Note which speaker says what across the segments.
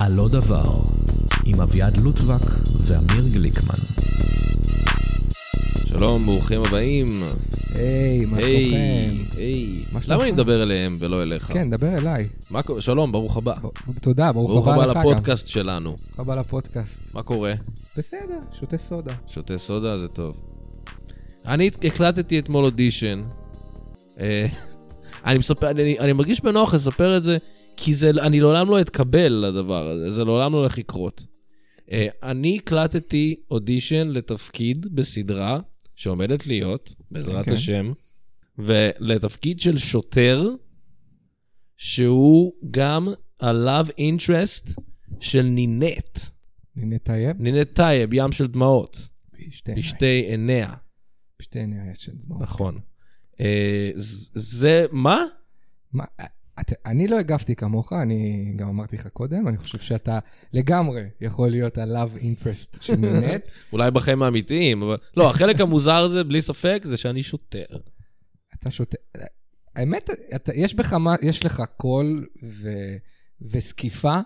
Speaker 1: על לא דבר, עם אביעד לוטבק ואמיר גליקמן.
Speaker 2: שלום, ברוכים הבאים.
Speaker 3: היי, מה
Speaker 2: היי,
Speaker 3: שלומכם?
Speaker 2: היי.
Speaker 3: מה
Speaker 2: למה
Speaker 3: שלומכם?
Speaker 2: אני מדבר אליהם ולא אליך?
Speaker 3: כן, דבר אליי.
Speaker 2: מה קורה? שלום, ברוך הבא.
Speaker 3: ב- תודה,
Speaker 2: ברוך
Speaker 3: ברוך
Speaker 2: הבא
Speaker 3: הבא לך גם.
Speaker 2: לפודקאסט שלנו.
Speaker 3: ברוך הבא לפודקאסט.
Speaker 2: מה קורה?
Speaker 3: בסדר, שותה סודה.
Speaker 2: שותה סודה זה טוב. אני הקלטתי אתמול אודישן. אה, אני מספר, אני, אני מרגיש בנוח לספר את זה, כי זה, אני לעולם לא אתקבל לדבר הזה, זה לעולם לא הולך לקרות. אה, אני הקלטתי אודישן לתפקיד בסדרה שעומדת להיות, בעזרת okay.
Speaker 3: אוקיי.
Speaker 2: השם, ולתפקיד של שוטר, שהוא גם ה-love interest של נינט,
Speaker 3: הנה טייב.
Speaker 2: נינט טייב, ים של דמעות.
Speaker 3: בשתי עיניים.
Speaker 2: בשתי עיניה,
Speaker 3: בשתי עיניים יש של דמעות.
Speaker 2: נכון. אה, ז- זה, מה?
Speaker 3: מה, את- אני לא הגבתי כמוך, אני גם אמרתי לך קודם, אני חושב שאתה לגמרי יכול להיות ה-love interest של מינט.
Speaker 2: אולי בחיים האמיתיים, אבל... לא, החלק המוזר זה, בלי ספק, זה שאני שוטר.
Speaker 3: אתה שותה... האמת, אתה, יש בך מה, יש לך קול ו, וזקיפה.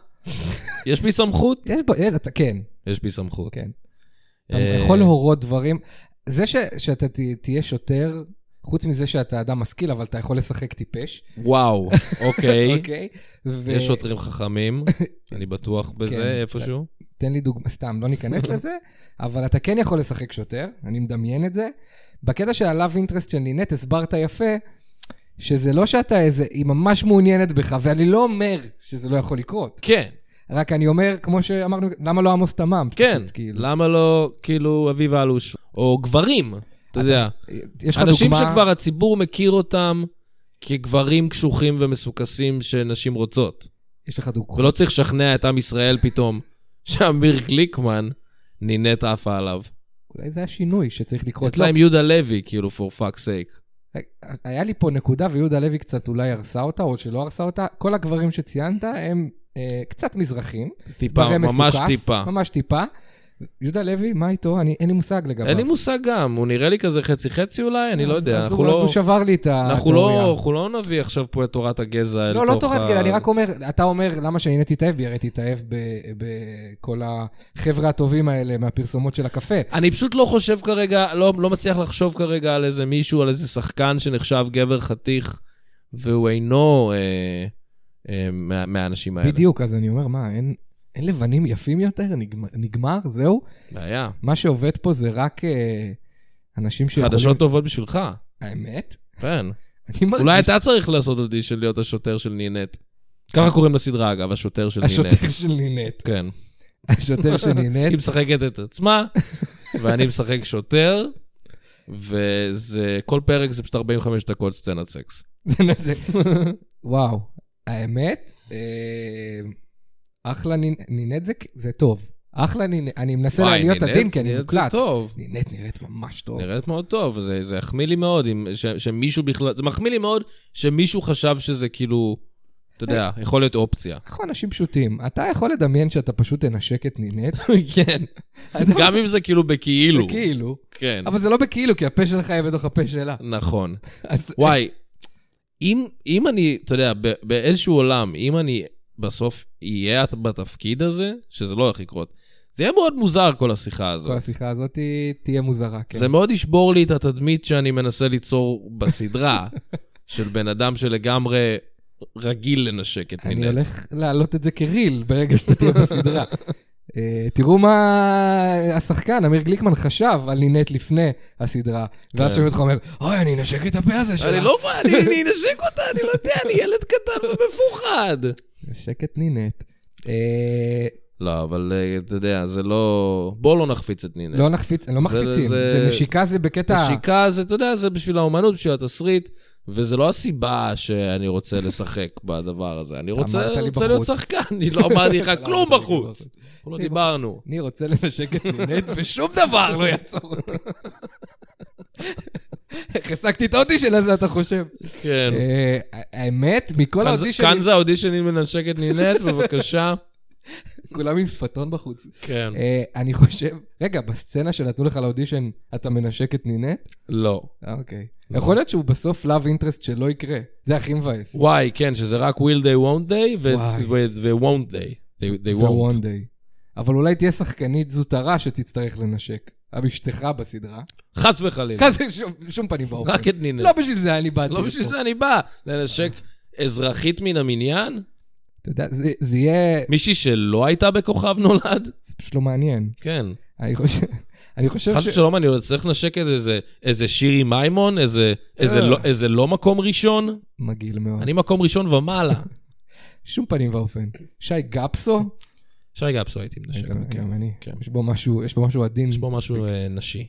Speaker 2: יש בי סמכות?
Speaker 3: יש בו, יש, אתה, כן,
Speaker 2: יש בי סמכות.
Speaker 3: כן. אתה
Speaker 2: אה,
Speaker 3: יכול להורות דברים. זה ש, שאתה ת, תהיה שוטר, חוץ מזה שאתה אדם משכיל, אבל אתה יכול לשחק טיפש,
Speaker 2: וואו, אוקיי.
Speaker 3: אוקיי? ו...
Speaker 2: יש שוטרים חכמים, אני בטוח בזה
Speaker 3: כן.
Speaker 2: איפשהו.
Speaker 3: תן לי דוגמה, סתם, לא ניכנס לזה, אבל אתה כן יכול לשחק שוטר, אני מדמיין את זה. בקטע של ה-love interest של נינט, הסברת יפה, שזה לא שאתה איזה, היא ממש מעוניינת בך, ואני לא אומר שזה לא יכול לקרות.
Speaker 2: כן,
Speaker 3: רק אני אומר, כמו שאמרנו, למה לא עמוס תמם?
Speaker 2: כן.
Speaker 3: פשוט, כאילו.
Speaker 2: למה לא, כאילו, אביב אלוש? או גברים, אתה יודע.
Speaker 3: יש לך
Speaker 2: אנשים
Speaker 3: דוגמה...
Speaker 2: שכבר הציבור מכיר אותם כגברים קשוחים ומסוכסים שנשים רוצות.
Speaker 3: יש לך דוגמה.
Speaker 2: ולא לא צריך לשכנע את עם ישראל פתאום שאמיר גליקמן נינט עפה עליו.
Speaker 3: אולי זה השינוי שצריך לקרות.
Speaker 2: יצא
Speaker 3: לא,
Speaker 2: עם יהודה לוי, כאילו, for fuck's sake.
Speaker 3: היה לי פה נקודה, ויהודה לוי קצת אולי הרסה אותה, או שלא הרסה אותה. כל הגברים שציינת הם אה, קצת מזרחים.
Speaker 2: טיפה,
Speaker 3: מראה
Speaker 2: ממש
Speaker 3: מסוכס,
Speaker 2: טיפה.
Speaker 3: ממש טיפה. יהודה לוי, מה איתו? אני, אין לי מושג לגביו.
Speaker 2: אין לי מושג גם, הוא נראה לי כזה חצי-חצי אולי, אני לא
Speaker 3: אז-
Speaker 2: יודע.
Speaker 3: אז
Speaker 2: אנחנו
Speaker 3: הוא- אז
Speaker 2: לא-
Speaker 3: הוא שבר לי את התיאוריה.
Speaker 2: אנחנו לא אנחנו לא נביא עכשיו פה את תורת הגזע אל תוך
Speaker 3: לא,
Speaker 2: ה...
Speaker 3: לא תורת גיל, אני רק אומר, אתה אומר, למה שאני תתאהב בי? הרי תתאהב ב- בכל החבר'ה הטובים האלה מהפרסומות של הקפה.
Speaker 2: אני פשוט לא חושב כרגע, לא, לא מצליח לחשוב כרגע על איזה מישהו, על איזה שחקן שנחשב גבר חתיך, והוא אינו אה, אה, מה, מהאנשים האלה.
Speaker 3: בדיוק, אז אני אומר, מה, אין... אין לבנים יפים יותר? נגמר, נגמר? זהו?
Speaker 2: בעיה.
Speaker 3: מה שעובד פה זה רק אה, אנשים שיכולים...
Speaker 2: חדשות טובות בשבילך,
Speaker 3: האמת?
Speaker 2: כן.
Speaker 3: אני מרגיש...
Speaker 2: אולי אתה צריך לעשות אודישן להיות השוטר של נינט. ככה קוראים לסדרה, אגב, השוטר של נינט.
Speaker 3: השוטר של נינט.
Speaker 2: כן.
Speaker 3: השוטר של נינט.
Speaker 2: היא משחקת את עצמה, ואני משחק שוטר, וזה, כל פרק זה פשוט 45 דקות סצנת סקס.
Speaker 3: זה- זה- וואו, האמת, אה, אחלה נינט, נינט זה, זה טוב. אחלה נינט, אני מנסה
Speaker 2: וואי,
Speaker 3: להיות
Speaker 2: נינט-
Speaker 3: עדין כי אני
Speaker 2: נינט
Speaker 3: מוקלט.
Speaker 2: זה טוב.
Speaker 3: נינט נראית ממש טוב.
Speaker 2: נראית מאוד טוב, זה, זה יחמיא לי מאוד, אם, ש, שמישהו בכלל, זה מחמיא לי מאוד שמישהו חשב שזה כאילו, אתה יודע, יכול להיות אופציה.
Speaker 3: אנחנו אנשים פשוטים. אתה יכול לדמיין שאתה פשוט תנשק את נינט?
Speaker 2: כן, גם אם זה כאילו בכאילו.
Speaker 3: כאילו.
Speaker 2: כן,
Speaker 3: אבל זה לא בכאילו, כי הפה שלך יהיה בתוך הפה שלה.
Speaker 2: נכון.
Speaker 3: אז
Speaker 2: וואי, אם, אם אני, אתה יודע, ב- באיזשהו עולם, אם אני בסוף אהיה בתפקיד הזה, שזה לא הולך לקרות, זה יהיה מאוד מוזר כל השיחה הזאת.
Speaker 3: כל השיחה הזאת היא- תהיה מוזרה, כן.
Speaker 2: זה מאוד ישבור לי את התדמית שאני מנסה ליצור בסדרה, של בן אדם שלגמרי רגיל לנשק את
Speaker 3: אני
Speaker 2: מינט.
Speaker 3: הולך להעלות את זה כריל ברגע שאתה תהיה בסדרה. אה, תראו מה השחקן, אמיר גליקמן, חשב על נינט לפני הסדרה, ואז
Speaker 2: כן.
Speaker 3: שומעים אותך אומר, אוי, אני אנשק את הפה הזה שלה.
Speaker 2: אני לא מבין, אני אני אנשק אותה, אני לא יודע, אני ילד קטן ומפוחד.
Speaker 3: אנשק את נינט. אה,
Speaker 2: לא, אבל אה, אתה יודע, זה לא... בוא לא נחפיץ את נינט.
Speaker 3: לא נחפיץ, לא מחפיצים,
Speaker 2: זה-
Speaker 3: זה נשיקה זה בקטע...
Speaker 2: השיקה זה, אתה יודע, זה בשביל האומנות, בשביל התסריט, וזה לא הסיבה שאני רוצה לשחק בדבר הזה. אני רוצה,
Speaker 3: אמרת לי
Speaker 2: רוצה להיות
Speaker 3: בחוץ.
Speaker 2: שחקן, אני לא אמרתי לך
Speaker 3: אתה לא
Speaker 2: כלום
Speaker 3: אמרת לי
Speaker 2: בחוץ. אנחנו לא דיברנו.
Speaker 3: אני רוצה לנשק את נינט, ושום דבר לא יעצור אותי. איך השגתי את האודישן הזה, אתה חושב?
Speaker 2: כן.
Speaker 3: אה, לא, האמת, מכל
Speaker 2: כאן זה-
Speaker 3: האודישנים,
Speaker 2: כאן זה האודישנים לנשקת נינט, בבקשה.
Speaker 3: כולם עם שפתון בחוץ.
Speaker 2: כן.
Speaker 3: אה, אני חושב, רגע, בסצנה שנתנו לך לאודישן, אתה מנשק את נינט?
Speaker 2: לא.
Speaker 3: אה, אוקיי. יכול להיות שהוא בסוף לאב אינטרסט שלא יקרה. זה הכי מבאס.
Speaker 2: וואי, כן, שזה רק will they won't they ו-
Speaker 3: וואי.
Speaker 2: ו- ו- won't they. They, they
Speaker 3: The
Speaker 2: won't.
Speaker 3: one day. אבל אולי תהיה שחקנית זוטרה שתצטרך לנשק. אשתך בסדרה.
Speaker 2: חס וחלילה.
Speaker 3: אחרי זה שום- שום פנים ואופן.
Speaker 2: רק את נינה.
Speaker 3: לא בשביל זה אני באתי.
Speaker 2: לא בשביל
Speaker 3: לפה.
Speaker 2: זה אני בא. לנשק אזרחית מן המניין?
Speaker 3: אתה יודע, זה- זה יהיה...
Speaker 2: מישהי שלא הייתה בכוכב נולד?
Speaker 3: זה פשוט לא מעניין.
Speaker 2: כן.
Speaker 3: אני חושב- אני חושב
Speaker 2: חס
Speaker 3: ש...
Speaker 2: ושלום, אני עוד צריך לנשק את איזה- איזה שירי מימון? איזה- איזה
Speaker 3: אה.
Speaker 2: לא- איזה לא מקום ראשון?
Speaker 3: מגעיל מאוד.
Speaker 2: אני מקום ראשון ומעלה.
Speaker 3: שום פנים ואופן. שי גפסו?
Speaker 2: שי גפסו הייתי מנשק.
Speaker 3: גם-
Speaker 2: בכיף.
Speaker 3: גם אני.
Speaker 2: כן.
Speaker 3: יש בו משהו, יש בו משהו עדין.
Speaker 2: יש בו משהו אה, נשי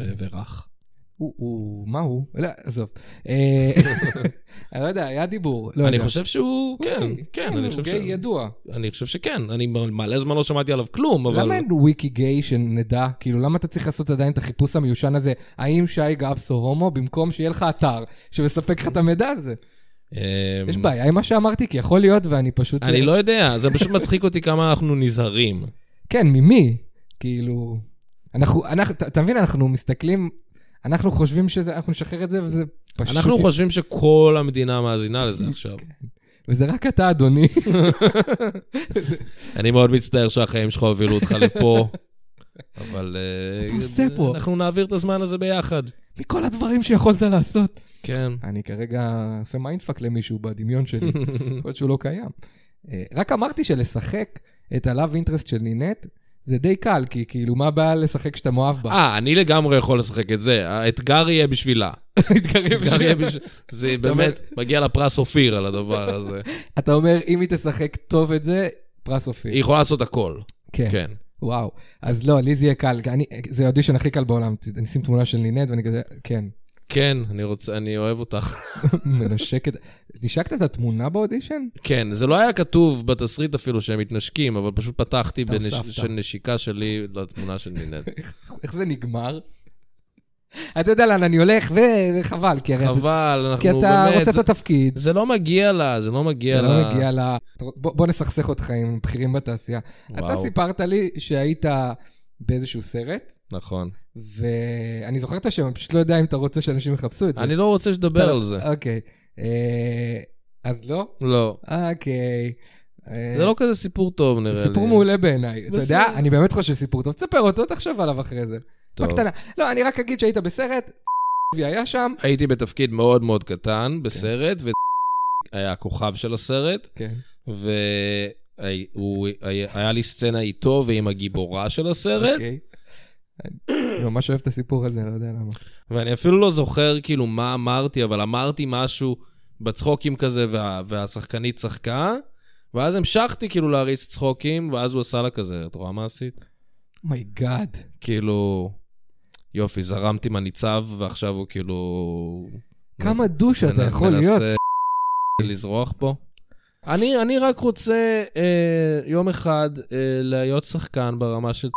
Speaker 2: ו- ורך.
Speaker 3: הוא- הוא, מה הוא? לא, עזוב. אה, אני לא יודע, היה דיבור. לא
Speaker 2: אני
Speaker 3: יודע.
Speaker 2: חושב שהוא... כן,
Speaker 3: אוקיי,
Speaker 2: כן, אני חושב
Speaker 3: הוא
Speaker 2: ש...
Speaker 3: גיי ידוע.
Speaker 2: אני חושב שכן. אני מלא זמן לא שמעתי עליו כלום, אבל...
Speaker 3: למה אין וויקי גיי שנדע? כאילו, למה אתה צריך לעשות עדיין את החיפוש המיושן הזה, האם שי גפסו הומו, במקום שיהיה לך אתר שמספק לך את המידע הזה?
Speaker 2: אה,
Speaker 3: יש בעיה עם מה שאמרתי, כי יכול להיות, ואני פשוט...
Speaker 2: אני לא יודע, זה פשוט מצחיק אותי כמה אנחנו נזהרים.
Speaker 3: כן, ממי? כאילו... אנחנו, אנחנו, ת- אתה מבין, אנחנו מסתכלים, אנחנו חושבים שזה, אנחנו נשחרר את זה, וזה פשוט...
Speaker 2: אנחנו חושבים שכל המדינה מאזינה לזה עכשיו.
Speaker 3: וזה רק אתה, אדוני.
Speaker 2: אני מאוד מצטער שהחיים שלך הובילו אותך לפה, אבל... אה,
Speaker 3: אתה עושה פה?
Speaker 2: אנחנו נעביר את הזמן הזה ביחד.
Speaker 3: מכל הדברים שיכולת לעשות.
Speaker 2: כן.
Speaker 3: אני כרגע עושה מיינדפאק למישהו בדמיון שלי, יכול להיות שהוא לא קיים. אה, רק אמרתי שלשחק את הלאו אינטרסט של נינט, זה די קל, כי כאילו, מה הבעיה לשחק כשאתה מאוהב בה?
Speaker 2: אה, אני לגמרי יכול לשחק את זה. האתגר יהיה בשבילה.
Speaker 3: מתקרב
Speaker 2: האתגר
Speaker 3: שלי.
Speaker 2: יהיה בשבילה. זה באמת, מגיע לה פרס אופיר על הדבר הזה.
Speaker 3: אתה אומר, אם היא תשחק טוב את זה, פרס
Speaker 2: היא
Speaker 3: אופיר.
Speaker 2: יכולה לעשות הכל.
Speaker 3: כן.
Speaker 2: כן.
Speaker 3: וואו. אז לא, לי זה יהיה קל. אני- זה האודישן הכי קל בעולם. ת- אני אשים תמונה של נינט ואני כזה, כן,
Speaker 2: כן, אני רוצה, אני אוהב אותך.
Speaker 3: מנשקת. נשקת את התמונה באודישן?
Speaker 2: כן, זה לא היה כתוב בתסריט אפילו שהם מתנשקים, אבל פשוט פתחתי
Speaker 3: אתה
Speaker 2: בנש-
Speaker 3: הוספת.
Speaker 2: של נשיקה שלי לתמונה של נינט.
Speaker 3: איך זה נגמר? אתה יודע לאן אני הולך, ו- וחבל, כי הרי...
Speaker 2: חבל,
Speaker 3: כי
Speaker 2: אנחנו
Speaker 3: אתה
Speaker 2: באמת...
Speaker 3: רוצה את התפקיד.
Speaker 2: זה לא מגיע לה, זה לא מגיע
Speaker 3: אתה
Speaker 2: לה.
Speaker 3: לא מגיע ל... אתה- בוא בוא נסכסך אותך עם בכירים בתעשייה.
Speaker 2: וואו.
Speaker 3: אתה סיפרת לי שהיית באיזשהו סרט,
Speaker 2: נכון.
Speaker 3: ואני זוכר את השם, אני פשוט לא יודע אם אתה רוצה שאנשים יחפשו את זה.
Speaker 2: אני לא רוצה שתדבר
Speaker 3: אתה-
Speaker 2: על זה.
Speaker 3: אוקיי. אה, אז לא?
Speaker 2: לא.
Speaker 3: אוקיי. אה,
Speaker 2: זה לא כזה סיפור טוב, נראה לי.
Speaker 3: זה סיפור מעולה בעיניי. אתה יודע,
Speaker 2: בסדר.
Speaker 3: אני באמת חושב סיפור טוב. תספר אותו, תחשוב עליו אחרי זה.
Speaker 2: טוב.
Speaker 3: בקטנה. לא, אני רק אגיד שהיית בסרט, והיה שם.
Speaker 2: הייתי בתפקיד מאוד מאוד קטן בסרט, והיה הכוכב של הסרט,
Speaker 3: כן.
Speaker 2: והיה לי סצנה איתו ועם הגיבורה של הסרט,
Speaker 3: אוקיי. אני ממש אוהב את הסיפור הזה, לא יודע למה.
Speaker 2: ואני אפילו לא זוכר כאילו מה אמרתי, אבל אמרתי משהו בצחוקים כזה, וה- והשחקנית צחקה, ואז המשכתי כאילו להריץ צחוקים, ואז הוא עשה לה כזה, את רואה מה עשית?
Speaker 3: מייגאד.
Speaker 2: כאילו, יופי, זרמתי עם הניצב, ועכשיו הוא כאילו...
Speaker 3: כמה דוש אתה
Speaker 2: מנ-
Speaker 3: יכול
Speaker 2: מנסה
Speaker 3: להיות.
Speaker 2: לזרוח פה. אני, אני רק רוצה אה, יום אחד אה, להיות שחקן ברמה של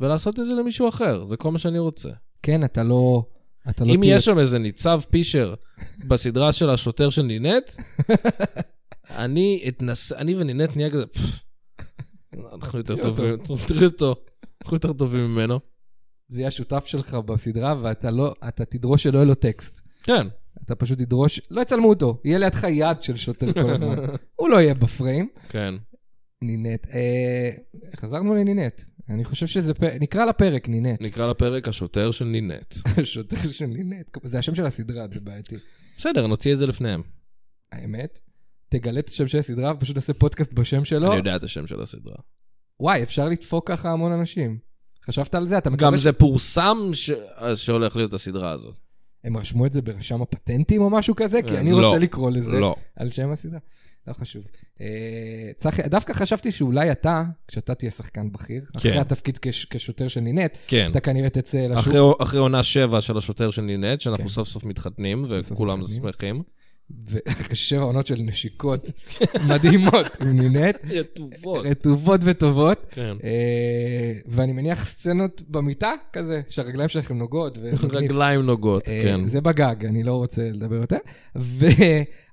Speaker 2: ולעשות את זה למישהו אחר, זה כל מה שאני רוצה.
Speaker 3: כן, אתה לא... אתה לא
Speaker 2: אם
Speaker 3: תהיה-
Speaker 2: יש שם איזה ניצב פישר בסדרה של השוטר של נינט, אני אתנס... אני ונינט נהיה כזה... "פפ, אנחנו יותר
Speaker 3: תראי אותו."
Speaker 2: טובים, תראי אותו, אנחנו יותר טובים ממנו.
Speaker 3: זה יהיה השותף שלך בסדרה, ואתה לא... אתה תדרוש שלא יהיה לו טקסט.
Speaker 2: כן,
Speaker 3: אתה פשוט תדרוש... לא יצלמו אותו, יהיה לידך יד של שוטר כל הזמן. הוא לא יהיה בפריים.
Speaker 2: כן.
Speaker 3: נינט. אה, חזרנו לנינט. אני חושב שזה... פ... נקרא לפרק נינט.
Speaker 2: נקרא לפרק השוטר של נינט.
Speaker 3: שוטר של נינט. זה השם של הסדרה, זה בעייתי.
Speaker 2: בסדר, נוציא את זה לפניהם.
Speaker 3: האמת? תגלה את השם של הסדרה ופשוט נעשה פודקאסט בשם שלו.
Speaker 2: אני יודע את השם של הסדרה.
Speaker 3: וואי, אפשר לדפוק ככה המון אנשים. חשבת על זה? אתה מקווה
Speaker 2: גם זה פורסם ש... אז שהולך להיות הסדרה הזאת.
Speaker 3: הם רשמו את זה ברשם הפטנטים או משהו כזה? כי
Speaker 2: אה,
Speaker 3: אני
Speaker 2: לא.
Speaker 3: רוצה לקרוא לזה.
Speaker 2: לא.
Speaker 3: על שם הסדרה. לא חשוב. אה, צחי, דווקא חשבתי שאולי אתה, כשאתה תהיה שחקן בכיר, אחרי התפקיד כש- כשוטר של נינט,
Speaker 2: כן.
Speaker 3: אתה כנראה תצא לשוק.
Speaker 2: אחרי, אחרי עונה שבע של השוטר של נינט, שאנחנו
Speaker 3: כן.
Speaker 2: סוף סוף מתחתנים, וכולם
Speaker 3: מתחתנים.
Speaker 2: שמחים.
Speaker 3: ואחרי שבע עונות של נשיקות מדהימות עם נינט,
Speaker 2: רטובות.
Speaker 3: רטובות וטובות.
Speaker 2: כן.
Speaker 3: אה, ואני מניח סצנות במיטה כזה, שהרגליים שלכם נוגעות. ו-
Speaker 2: רגליים נוגות,
Speaker 3: אוקיי. אה,
Speaker 2: כן.
Speaker 3: זה בגג, אני לא רוצה לדבר יותר.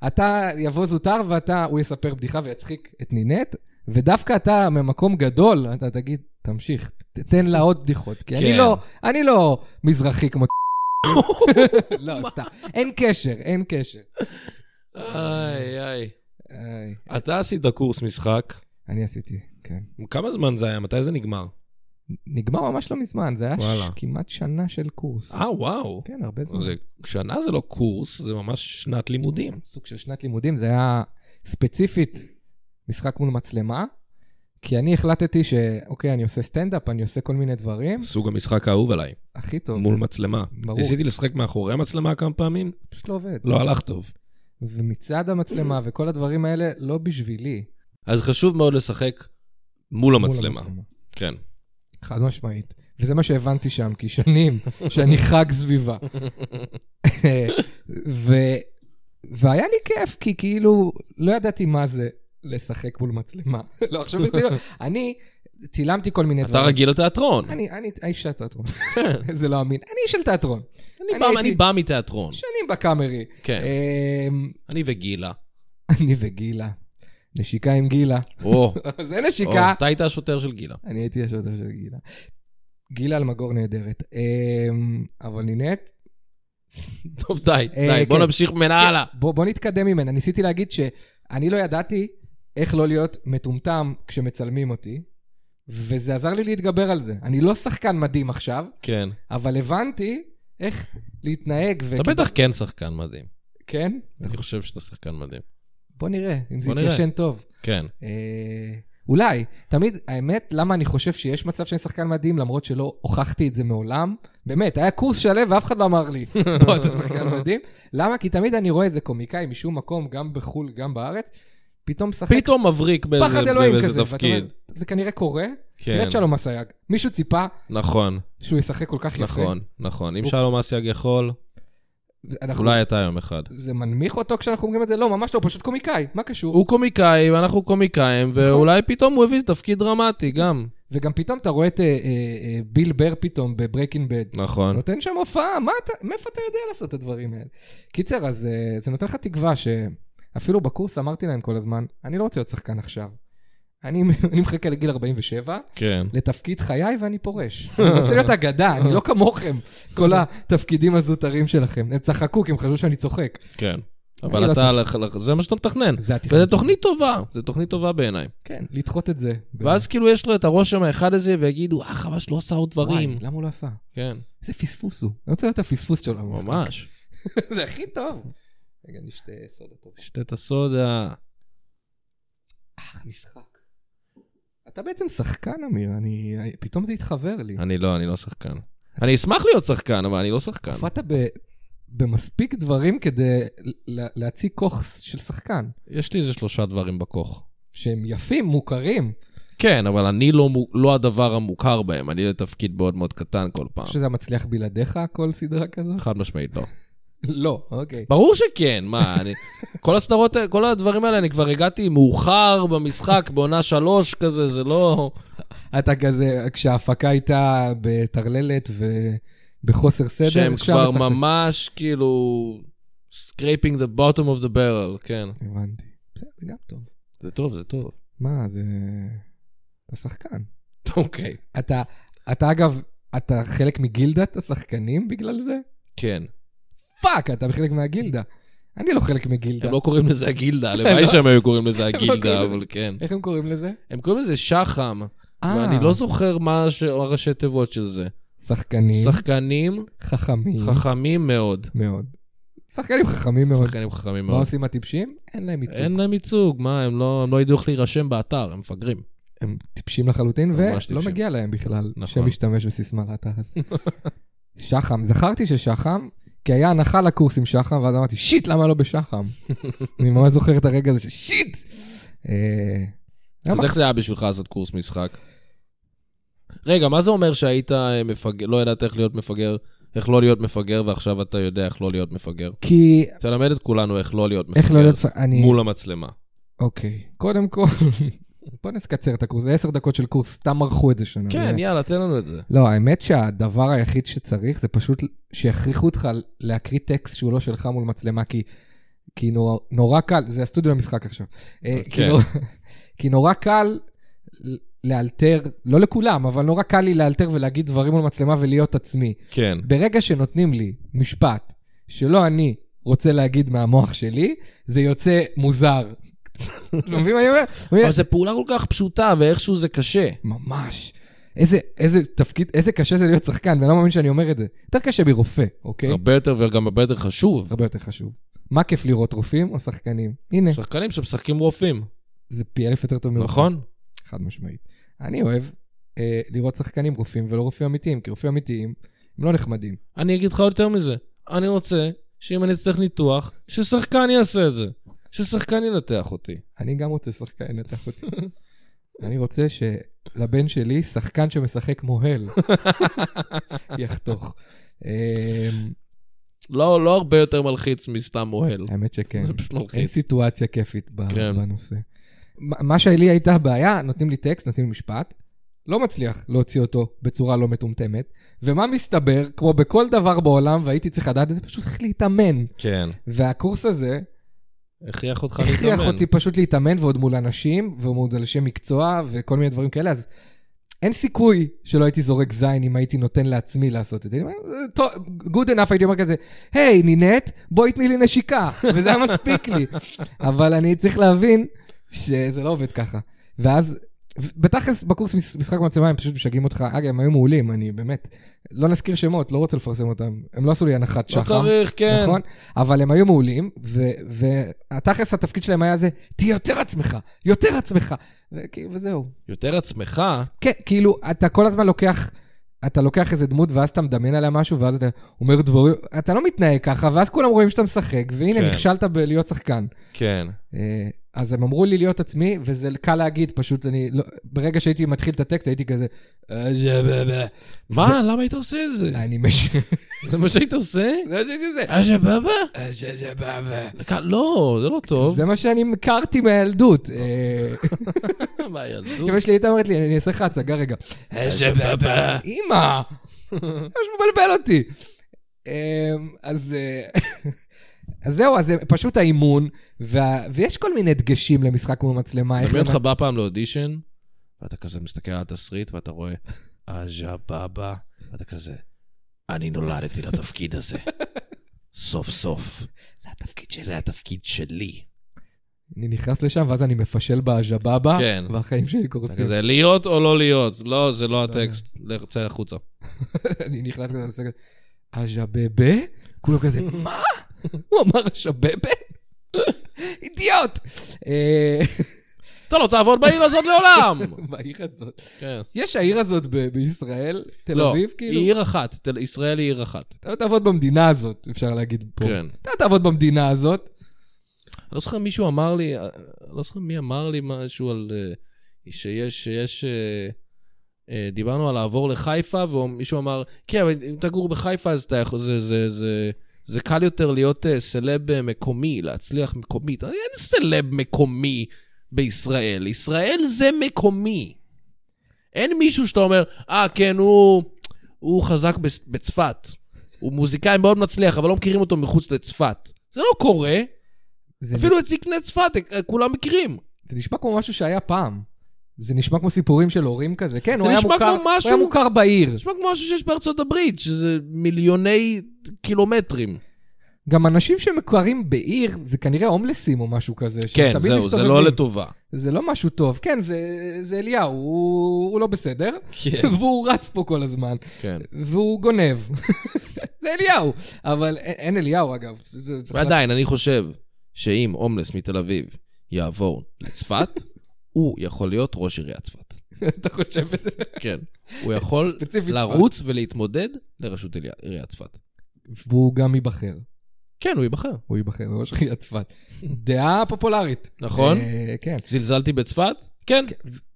Speaker 3: ואתה יבוא זוטר ואתה, הוא יספר בדיחה ויצחיק את נינט, ודווקא אתה ממקום גדול, אתה תגיד, תמשיך, ת- תן לה עוד בדיחות. כי אני
Speaker 2: כן.
Speaker 3: לא, אני לא מזרחי כמו... לא, סתם. אין קשר, אין קשר.
Speaker 2: איי, איי.
Speaker 3: איי.
Speaker 2: אתה עשית קורס משחק,
Speaker 3: אני עשיתי, כן.
Speaker 4: כמה זמן זה היה? מתי זה נגמר?
Speaker 3: נגמר ממש לא מזמן, זה היה
Speaker 4: וואלה.
Speaker 3: ש... כמעט שנה של קורס.
Speaker 4: אה, וואו.
Speaker 3: כן, הרבה זמן.
Speaker 4: זה, שנה זה לא קורס, זה ממש שנת לימודים.
Speaker 3: סוג של שנת לימודים, זה היה ספציפית משחק מול מצלמה, כי אני החלטתי שאוקיי, אני עושה סטנדאפ, אני עושה כל מיני דברים,
Speaker 4: סוג המשחק האהוב עליי,
Speaker 3: הכי טוב,
Speaker 4: מול מצלמה.
Speaker 3: ברור.
Speaker 4: ניסיתי לשחק מאחורי המצלמה כמה פעמים,
Speaker 3: פשוט לא עובד.
Speaker 4: לא הלך טוב.
Speaker 3: ומצעד המצלמה וכל הדברים האלה, לא בשבילי.
Speaker 4: אז חשוב מאוד לשחק מול
Speaker 3: מול
Speaker 4: המצלמה. כן.
Speaker 3: חד משמעית. וזה מה שהבנתי שם, כי שנים שאני חג סביבה. ו... והיה לי כיף, כי כאילו, לא ידעתי מה זה לשחק מול מצלמה. לא, עכשיו ברצינות. אני צילמתי כל מיני
Speaker 2: אתה
Speaker 3: דברים.
Speaker 2: רגיל לתיאטרון.
Speaker 3: אני, אני האיש של התיאטרון. זה לא אמין. אני איש של תיאטרון.
Speaker 2: כן. אני בא- אני
Speaker 3: הייתי
Speaker 2: בא מתיאטרון.
Speaker 3: שנים בקאמרי.
Speaker 2: כן,
Speaker 3: אמ,
Speaker 2: אני וגילה.
Speaker 3: אני וגילה. נשיקה עם גילה.
Speaker 2: או,
Speaker 3: זה
Speaker 2: או,
Speaker 3: נשיקה.
Speaker 2: אתה היית השוטר של גילה.
Speaker 3: אני הייתי השוטר של גילה. גילה אלמגור נהדרת. אמ, אבל נינט,
Speaker 2: טוב, די,
Speaker 3: אה,
Speaker 2: די, בוא
Speaker 3: כן.
Speaker 2: נמשיך ממנה הלאה.
Speaker 3: בוא, בוא נתקדם ממנה. ניסיתי להגיד שאני לא ידעתי איך לא להיות מטומטם כשמצלמים אותי, וזה עזר לי להתגבר על זה. אני לא שחקן מדהים עכשיו,
Speaker 2: כן.
Speaker 3: אבל הבנתי איך להתנהג. ו...
Speaker 2: אתה בטח כן שחקן מדהים.
Speaker 3: כן?
Speaker 2: אני חושב שאתה שחקן מדהים.
Speaker 3: בוא נראה, אם זה
Speaker 2: בוא נראה.
Speaker 3: יתיישן טוב.
Speaker 2: כן.
Speaker 3: אה, אולי, תמיד, האמת, למה אני חושב שיש מצב שאני שחקן מדהים, למרות שלא הוכחתי את זה מעולם? באמת, היה קורס שלם ואף אחד לא אמר לי, בוא, אתה שחקן מדהים. למה? כי תמיד אני רואה איזה קומיקאי משום מקום, גם בחו"ל, גם בארץ, פתאום משחק
Speaker 2: פתאום מבריק באיזה
Speaker 3: פחד אלוהים
Speaker 2: באיזה
Speaker 3: כזה. ואתה
Speaker 2: תפקיד.
Speaker 3: אומר, זה כנראה קורה. תראה
Speaker 2: כן,
Speaker 3: את שלום אסייג. מישהו ציפה
Speaker 2: נכון,
Speaker 3: שהוא ישחק כל כך יפה.
Speaker 2: נכון, נכון. אם
Speaker 3: הוא- נכון.
Speaker 2: שלום אסיאג יכול,
Speaker 3: אנחנו-
Speaker 2: אולי אתה יום אחד.
Speaker 3: זה מנמיך אותו כשאנחנו אומרים את זה? לא, ממש לא, הוא פשוט קומיקאי, מה קשור?
Speaker 2: הוא קומיקאי, ואנחנו קומיקאים, ואולי פתאום הוא הביא תפקיד דרמטי גם.
Speaker 3: וגם פתאום אתה רואה את אה, אה, אה, ביל בר פתאום בברקינג בד.
Speaker 2: נכון.
Speaker 3: נותן שם הופעה, מה אתה, מאיפה אתה יודע לעשות את הדברים האלה? קיצר, אז אה, זה נותן לך תקווה שאפילו בקורס אמרתי להם כל הזמן, אני לא רוצה להיות שחקן עכשיו. אני, אני מחכה לגיל 47,
Speaker 2: כן.
Speaker 3: לתפקיד חיי ואני פורש. אני רוצה להיות אגדה, אני לא כמוכם, כל התפקידים הזוטרים שלכם. הם צחקו כי הם חשבו שאני צוחק.
Speaker 2: כן.
Speaker 3: לא
Speaker 2: אבל אתה, זה מה שאתה מתכנן.
Speaker 3: זה התכנון.
Speaker 2: וזו תוכנית טובה, זו תוכנית טובה בעיניי.
Speaker 3: כן, לדחות את זה.
Speaker 2: ואז כאילו יש לו את הרושם האחד הזה, ויגידו, אה, חבל שלא עשה עוד דברים.
Speaker 3: וואי, למה הוא לא עשה?
Speaker 2: כן,
Speaker 3: איזה פספוס הוא. אני רוצה להיות הפספוס שלו. במשחק.
Speaker 2: ממש.
Speaker 3: זה הכי טוב. רגע, נשתה סודה טוב.
Speaker 2: שתה את הסודה.
Speaker 3: משחק. אתה בעצם שחקן, אמיר, אני... פתאום זה התחבר לי.
Speaker 2: אני לא, אני לא שחקן. אני אשמח להיות שחקן, אבל אני לא שחקן.
Speaker 3: הופעת ב... במספיק דברים כדי לה- להציג כוח של שחקן,
Speaker 2: יש לי איזה שלושה דברים בכוך.
Speaker 3: שהם יפים, מוכרים.
Speaker 2: כן, אבל אני לא, מו- לא הדבר המוכר בהם, אני לתפקיד מאוד מאוד קטן כל פעם.
Speaker 3: אני חושב שזה היה מצליח בלעדיך, כל סדרה כזו?
Speaker 2: חד משמעית לא.
Speaker 3: לא, אוקיי.
Speaker 2: ברור שכן, מה, אני... כל הסדרות, ה- כל הדברים האלה, אני כבר הגעתי מאוחר במשחק, בעונה שלוש כזה, זה לא...
Speaker 3: אתה כזה, כשההפקה הייתה בטרללת ובחוסר סדר,
Speaker 2: שהם
Speaker 3: שם
Speaker 2: כבר
Speaker 3: הצלחת-
Speaker 2: ממש כאילו... scraping the bottom of the barrel, כן.
Speaker 3: הבנתי. בסדר, זה גם טוב.
Speaker 2: זה טוב, זה טוב.
Speaker 3: מה, זה... אתה שחקן.
Speaker 2: אוקיי.
Speaker 3: אתה, אתה אגב, אתה חלק מגילדת השחקנים בגלל זה?
Speaker 2: כן.
Speaker 3: פאק, אתה חלק מהגילדה. אני לא חלק מגילדה.
Speaker 2: הם לא קוראים לזה הגילדה, הלוואי שהם היו קוראים לזה הגילדה,
Speaker 3: לא. קוראים לזה.
Speaker 2: אבל כן.
Speaker 3: איך הם קוראים לזה?
Speaker 2: הם קוראים לזה שח"ם,
Speaker 3: אה.
Speaker 2: ואני לא זוכר מה ש- הראשי תיבות של זה.
Speaker 3: שחקנים
Speaker 2: שחקנים
Speaker 3: חכמים
Speaker 2: חכמים מאוד.
Speaker 3: מאוד. שחקנים חכמים מאוד.
Speaker 2: שחקנים חכמים
Speaker 3: מה
Speaker 2: מאוד.
Speaker 3: עושים הטיפשים? אין להם ייצוג.
Speaker 2: אין להם ייצוג, מה, הם לא הם לא ידעו איך להירשם באתר, הם מפגרים.
Speaker 3: הם טיפשים לחלוטין, ולא
Speaker 2: טיפשים.
Speaker 3: מגיע להם בכלל
Speaker 2: נכון.
Speaker 3: שם משתמש בסיסמה לאתר. שחם, זכרתי ששחם, כי היה הנחה לקורס עם שחם, ואז אמרתי, שיט, למה לא בשחם? אני ממש זוכר את הרגע הזה של שיט! אה, היה
Speaker 2: אז איך זה היה בשבילך לעשות קורס משחק? רגע, מה זה אומר שהיית אה, מפגר, לא ידעת איך להיות מפגר, איך לא להיות מפגר, ועכשיו אתה יודע איך לא להיות מפגר?
Speaker 3: כי...
Speaker 2: תלמד את כולנו איך לא להיות מפגר.
Speaker 3: איך לא להיות... פ- אני...
Speaker 2: מול המצלמה.
Speaker 3: אוקיי. קודם כל, בוא נקצר את הקורס. זה עשר דקות של קורס, סתם מרחו את זה שנה.
Speaker 2: כן,
Speaker 3: באמת.
Speaker 2: יאללה, תן לנו את זה.
Speaker 3: לא, האמת שהדבר היחיד שצריך זה פשוט שיכריחו אותך להקריא טקסט שהוא לא שלך מול מצלמה, כי, כי נורא, נורא קל, זה הסטודיו למשחק עכשיו. אה, כי,
Speaker 2: כן.
Speaker 3: נורא, כי נורא קל ל- לאלתר, לא לכולם, אבל נורא קל לי לאלתר ולהגיד דברים מול מצלמה ולהיות עצמי.
Speaker 2: כן.
Speaker 3: ברגע שנותנים לי משפט שלא אני רוצה להגיד מהמוח שלי, זה יוצא מוזר. אתה מבין מה אני אומר? הוא אומר,
Speaker 2: אבל זו פעולה כל כך פשוטה, ואיכשהו זה קשה.
Speaker 3: אוקיי. ממש. איזה, איזה תפקיד, איזה קשה זה להיות שחקן, ואני לא מאמין שאני אומר את זה. יותר קשה מרופא, אוקיי?
Speaker 2: הרבה יותר וגם הרבה יותר חשוב.
Speaker 3: הרבה יותר חשוב. מה כיף לראות, רופאים או שחקנים? הנה,
Speaker 2: שחקנים שמשחקים רופאים,
Speaker 3: זה פי אלף יותר טוב מרופא.
Speaker 2: נכון?
Speaker 3: חד משמעית. אני אוהב אה, לראות שחקנים רופאים ולא רופאים אמיתיים, כי רופאים אמיתיים הם לא נחמדים.
Speaker 2: אני אגיד לך יותר מזה. אני רוצה שאם אני אצטרך ניתוח, ששחקן יעשה את זה. ששחקן ינתח אותי.
Speaker 3: אני גם רוצה שחקן ינתח אותי. אני רוצה שלבן שלי, שחקן שמשחק מוהל, יחתוך. אמ,
Speaker 2: לא, לא הרבה יותר מלחיץ מסתם מוהל.
Speaker 3: האמת שכן.
Speaker 2: זה פשוט
Speaker 3: אין
Speaker 2: מלחיץ.
Speaker 3: סיטואציה כיפית ב-
Speaker 2: כן.
Speaker 3: בנושא. מה מה שלי הייתה הבעיה, נותנים לי טקסט, נותנים לי משפט, לא מצליח להוציא אותו בצורה לא מטומטמת, ומה מסתבר, כמו בכל דבר בעולם, והייתי צריך לדעת את זה, פשוט צריך להתאמן.
Speaker 2: כן.
Speaker 3: והקורס הזה
Speaker 2: הכריח אותך להתאמן. לא
Speaker 3: הכריח אותי פשוט להתאמן, ועוד מול אנשים, ועוד אנשי מקצוע, וכל מיני דברים כאלה, אז... אין סיכוי שלא הייתי זורק זין אם הייתי נותן לעצמי לעשות את זה. אני אומר, "זה טוב, good enough הייתי אומר כזה, היי, נינט, בואי תני לי נשיקה, וזה היה מספיק לי. אבל אני צריך להבין שזה לא עובד ככה. ואז, ו- בתכלס, בקורס מש- משחק מצלמה הם פשוט משגעים אותך. אגב, הם היו מעולים, אני באמת, לא נזכיר שמות, לא רוצה לפרסם אותם. הם לא עשו לי הנחת שחר.
Speaker 2: לא צריך, כן.
Speaker 3: נכון? אבל הם היו מעולים, ו- והתכלס התפקיד שלהם היה זה, תהיה יותר עצמך, יותר עצמך, וכי- וזהו.
Speaker 2: יותר עצמך,
Speaker 3: כן, כאילו, אתה כל הזמן לוקח, אתה לוקח איזה דמות, ואז אתה מדמיין עליה משהו, ואז אתה אומר דברים, אתה לא מתנהג ככה, ואז כולם רואים שאתה משחק, והנה,
Speaker 2: כן.
Speaker 3: נכשלת בלהיות שחקן.
Speaker 2: כן.
Speaker 3: אה, אז הם אמרו לי להיות עצמי, וזה קל להגיד, פשוט אני, לא, ברגע שהייתי מתחיל את הטקסט, הייתי כזה, "אה, זה- זה- זה."
Speaker 2: מה? למה היית עושה את זה?
Speaker 3: אני מש...
Speaker 2: זה מה שהיית עושה?
Speaker 3: זה מה שהייתי עושה.
Speaker 2: אה, שבבה?
Speaker 3: "אה, זה- זה- זה- זה."
Speaker 2: לא, זה לא טוב.
Speaker 3: זה מה שאני הכרתי מהילדות. אה,
Speaker 2: מהילדות.
Speaker 3: אמא שלי הייתה אומרת לי, אני אעשה לך הצגה רגע.
Speaker 2: שבבה.
Speaker 3: אמא, ממש מבלבל אותי. אמ, אז אה, אז זהו, אז זה פשוט האימון, וה- ויש כל מיני דגשים למשחק מול מצלמה. איך
Speaker 2: דמיין אותך
Speaker 3: למצ-
Speaker 2: בא פעם לאודישן, ואתה כזה מסתכל על התסריט, ואתה רואה, עג'ה בבא, ואתה כזה, אני נולדתי לתפקיד הזה. סוף סוף.
Speaker 3: זה התפקיד שלי.
Speaker 2: זה התפקיד שלי.
Speaker 3: אני נכנס לשם, ואז אני מפשל באז'באבה,
Speaker 2: כן.
Speaker 3: והחיים שלי
Speaker 2: אתה
Speaker 3: קורסים.
Speaker 2: כזה, להיות או לא להיות? לא, זה לא הטקסט. לך, צא החוצה.
Speaker 3: אני נכנס כזה, עושה כזה, אז'בבה? כולו כזה, מה? הוא אמר אז'בבה? אידיוט! אה,
Speaker 2: אתה לא תעבוד בעיר הזאת לעולם!
Speaker 3: בעיר הזאת.
Speaker 2: כן.
Speaker 3: יש העיר הזאת ב- בישראל? תל
Speaker 2: לא,
Speaker 3: אביב, כאילו?
Speaker 2: היא עיר אחת, תל- ישראל היא עיר אחת.
Speaker 3: אתה תעבוד במדינה הזאת, אפשר להגיד פה.
Speaker 2: כן.
Speaker 3: אתה תעבוד במדינה הזאת.
Speaker 2: לא זוכר מישהו אמר לי, אה, לא זוכר מי אמר לי משהו על... אה, שיש, שיש... אה, אה, דיברנו על לעבור לחיפה, ומישהו אמר, כן, אבל אם תגור בחיפה אז אתה יכול... זה, זה, זה, זה קל יותר להיות אה, סלב אה, מקומי, להצליח מקומית. אין סלב מקומי בישראל. ישראל זה מקומי. אין מישהו שאתה אומר, אה, כן, הוא, הוא חזק בס- בצפת. הוא מוזיקאי מאוד מצליח, אבל לא מכירים אותו מחוץ לצפת. זה לא קורה.
Speaker 3: זה,
Speaker 2: אפילו את זקני צפת, אה, כולם מכירים.
Speaker 3: נ... זה נשמע כמו משהו שהיה פעם. זה נשמע כמו סיפורים של הורים כזה. כן, הוא
Speaker 2: זה
Speaker 3: היה,
Speaker 2: נשמע
Speaker 3: מוכר,
Speaker 2: כמו משהו-
Speaker 3: הוא היה מוכר בעיר.
Speaker 2: נשמע כמו משהו שיש בארצות הברית, שזה מיליוני קילומטרים.
Speaker 3: גם אנשים שמוכרים בעיר, זה כנראה הומלסים או משהו כזה. שהם
Speaker 2: כן,
Speaker 3: תמיד מסתובבים.
Speaker 2: לא לטובה.
Speaker 3: זה לא משהו טוב. כן, זה, זה אליהו, הוא, הוא לא בסדר,
Speaker 2: כן.
Speaker 3: והוא רץ פה כל הזמן.
Speaker 2: כן.
Speaker 3: והוא גונב. זה אליהו. אבל א- אין אליהו, אגב. זה- זה-
Speaker 2: ועדיין, אני חושב שאם הומלס מתל אביב יעבור לצפת, הוא יכול להיות ראש עיריית צפת.
Speaker 3: אתה חושב את זה?
Speaker 2: כן. הוא יכול
Speaker 3: ספציפית צפת.
Speaker 2: לרוץ ולהתמודד לראשות עיריית- עיריית צפת.
Speaker 3: והוא גם ייבחר.
Speaker 2: כן, הוא ייבחר.
Speaker 3: הוא ייבחר לראש עיריית צפת. דעה פופולרית.
Speaker 2: נכון.
Speaker 3: אה, כן.
Speaker 2: זלזלתי בצפת? כן,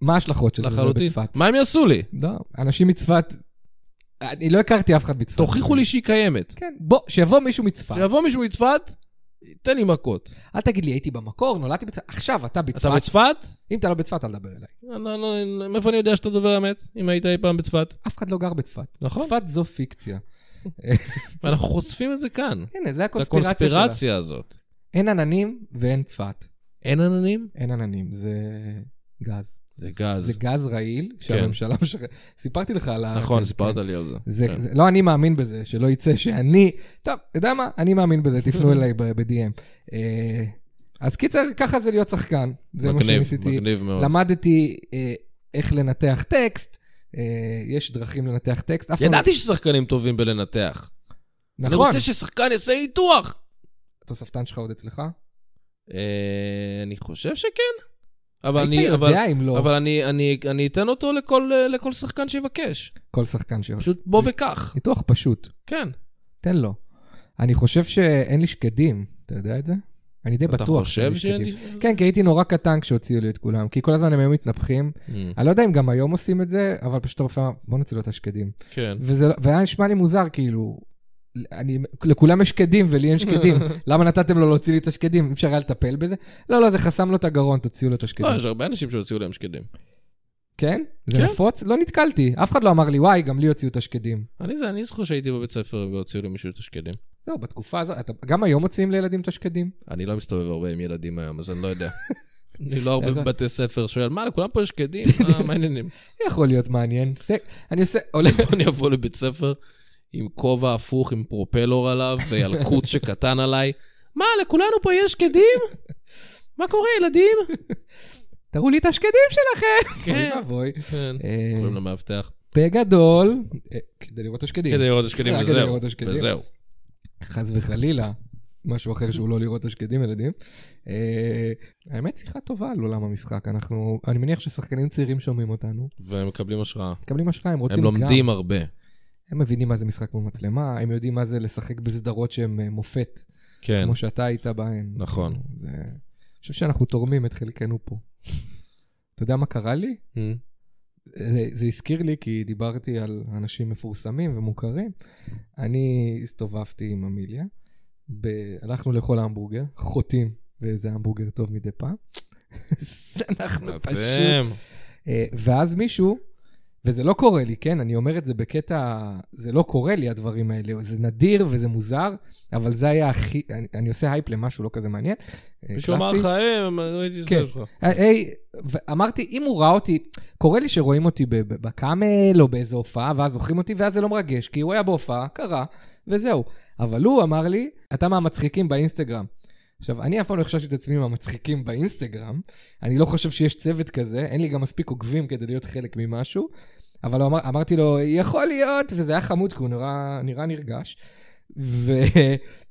Speaker 3: מה ההשלכות של זה
Speaker 2: לחלוטין.
Speaker 3: בצפת?
Speaker 2: מה הם יעשו לי?
Speaker 3: לא, אנשים מצפת... אני לא הכרתי אף אחד מצפת.
Speaker 2: תוכיחו לי שהיא קיימת.
Speaker 3: כן, בוא, שיבוא מישהו מצפת.
Speaker 2: שיבוא מישהו מצפת, תן לי מכות.
Speaker 3: אל תגיד לי, הייתי במקור, נולדתי בצפת. עכשיו, אתה
Speaker 2: אתה
Speaker 3: בצפת.
Speaker 2: בצפת?
Speaker 3: אם אתה לא בצפת, אל תדבר אליי.
Speaker 2: לא, לא, לא, מאיפה אני יודע שאתה דובר אמת, אם היית אי פעם בצפת?
Speaker 3: אף אחד לא גר בצפת.
Speaker 2: נכון.
Speaker 3: צפת זו פיקציה.
Speaker 2: ואנחנו חושפים את זה כאן,
Speaker 3: הנה, זה
Speaker 2: את
Speaker 3: הקונספירציה שלה.
Speaker 2: הקונספירציה הזאת.
Speaker 3: אין עננים ואין צפת.
Speaker 2: אין עננים?
Speaker 3: אין עננים, זה גז.
Speaker 2: זה
Speaker 3: זה
Speaker 2: גז.
Speaker 3: גז רעיל, שהממשלה... מש- סיפרתי לך על ה...
Speaker 2: כן. נכון,
Speaker 3: כן,
Speaker 2: סיפרת
Speaker 3: כן.
Speaker 2: לי על זה.
Speaker 3: זה,
Speaker 2: כן.
Speaker 3: זה, לא אני מאמין בזה, שלא יצא שאני... טוב, אתה יודע מה? אני מאמין בזה, תפנו אליי ב- ב-DM. אה, אז קיצר, ככה זה להיות שחקן. זה מה
Speaker 2: מגניב,
Speaker 3: שניסיתי.
Speaker 2: מגניב מאוד.
Speaker 3: למדתי אה, איך לנתח טקסט, אה, יש דרכים לנתח טקסט. אף פעם-
Speaker 2: ידעתי ששחקנים טובים בלנתח. אני
Speaker 3: נכון.
Speaker 2: רוצה ששחקן יעשה ניתוח.
Speaker 3: התוספתן שלך עוד אצלך?
Speaker 2: אה, אני חושב שכן. אבל
Speaker 3: היית
Speaker 2: אני, אבל,
Speaker 3: יודע אם לא,
Speaker 2: אבל אני, אני, אני אתן אותו לכל, אה, לכל שחקן שיבקש.
Speaker 3: כל שחקן שיוצא.
Speaker 2: פשוט בוא וקח.
Speaker 3: ניתוח פשוט,
Speaker 2: כן.
Speaker 3: תן לו. אני חושב שאין לי שקדים, אתה יודע את זה? אני די
Speaker 2: אתה
Speaker 3: בטוח
Speaker 2: חושב שאין לי...
Speaker 3: כן, כי הייתי נורא קטן כשהוציאו לי את כולם, כי כל הזמן הם היו מתנפחים.
Speaker 2: כן.
Speaker 3: אני לא יודע אם גם היום עושים את זה, אבל פשוט הרופא אמר, בוא נוציא לו את השקדים.
Speaker 2: כן.
Speaker 3: וזה לא- והיה נשמע לי מוזר, כאילו, אני, לכולם יש שקדים ולי אין שקדים. למה נתתם לו להוציא לי את השקדים? אי אפשר היה לטפל בזה? לא, לא, זה חסם לו את הגרון, תוציאו לו את השקדים.
Speaker 2: לא, יש הרבה אנשים שהוציאו להם שקדים.
Speaker 3: כן? זה
Speaker 2: כן.
Speaker 3: נפוץ? לא נתקלתי. אף אחד לא אמר לי, וואי, גם לי הוציאו את השקדים.
Speaker 2: אני זה, אני זוכר שהייתי בבית ספר והוציאו למישהו את השקדים.
Speaker 3: לא, בתקופה הזאת, אתה, גם היום מוציאים לילדים את השקדים?
Speaker 2: אני לא מסתובב הרבה עם ילדים היום, אז אני לא יודע. אני לא הרבה
Speaker 3: איך-
Speaker 2: בבתי ספר שואל, מה, לכולם פה יש שקדים? מה- מה העניינים?
Speaker 3: יכול להיות מעניין. זה, אני עושה, עולה,
Speaker 2: אני אבוא לבית ספר עם כובע הפוך, עם פרופלור עליו, וילקוט שקטן עליי. מה, לכולנו פה יש שקדים? מה קורה, ילדים?
Speaker 3: תראו לי את השקדים שלכם!
Speaker 2: כן.
Speaker 3: אוי ואבוי.
Speaker 2: כן.
Speaker 3: אה,
Speaker 2: קוראים למאבטח.
Speaker 3: בגדול, אה, כדי לראות את השקדים.
Speaker 2: כדי לראות את השקדים,
Speaker 3: רק כדי
Speaker 2: וזהו.
Speaker 3: לראות את השקדים.
Speaker 2: וזהו.
Speaker 3: חס וחלילה, משהו אחר שהוא לא לראות את השקדים, ילדים. אה, האמת, שיחה טובה על עולם המשחק. אנחנו, אני מניח ששחקנים צעירים שומעים אותנו,
Speaker 2: והם מקבלים השראה.
Speaker 3: מקבלים השראה, הם רוצים
Speaker 2: הם
Speaker 3: גם.
Speaker 2: לומדים הרבה.
Speaker 3: הם מבינים מה זה משחק במצלמה, הם יודעים מה זה לשחק בסדרות שהן אה, מופת,
Speaker 2: כן,
Speaker 3: כמו שאתה היית בהן.
Speaker 2: נכון.
Speaker 3: זה... אני חושב שאנחנו תורמים את חלקנו פה. אתה יודע מה קרה לי?
Speaker 2: אה,
Speaker 3: זה, זה הזכיר לי, כי דיברתי על אנשים מפורסמים ומוכרים. אני הסתובבתי עם אמיליה, ב... הלכנו לאכול המבורגר, חוטאים באיזה המבורגר טוב מדי פעם. אז אנחנו פשוט...
Speaker 2: אתם.
Speaker 3: אה, ואז מישהו, וזה לא קורה לי, כן? אני אומר את זה בקטע, זה לא קורה לי הדברים האלה, זה נדיר וזה מוזר, אבל זה היה הכי, אני, אני עושה הייפ למשהו לא כזה מעניין. אה,
Speaker 2: מישהו אמר
Speaker 3: קלאסי.
Speaker 2: לך, אה, לא הייתי
Speaker 3: כן.
Speaker 2: סבב שלך.
Speaker 3: היי, היי, ואמרתי, אם הוא ראה אותי, קורה לי שרואים אותי ב- ב- בקאמל או באיזו הופעה, ואז זוכרים אותי, ואז זה לא מרגש, כי הוא היה בהופעה, קרה, וזהו. אבל הוא אמר לי, אתה מהמצחיקים באינסטגרם. עכשיו, אני אף פעם לא חשבתי את עצמי מהמצחיקים באינסטגרם, אני לא חושב שיש צוות כזה, אין לי גם מספיק עוקבים כדי להיות חלק ממשהו, אבל הוא אמר, אמרתי לו, יכול להיות, וזה היה חמוד, כי הוא נראה, נראה נרגש. ו...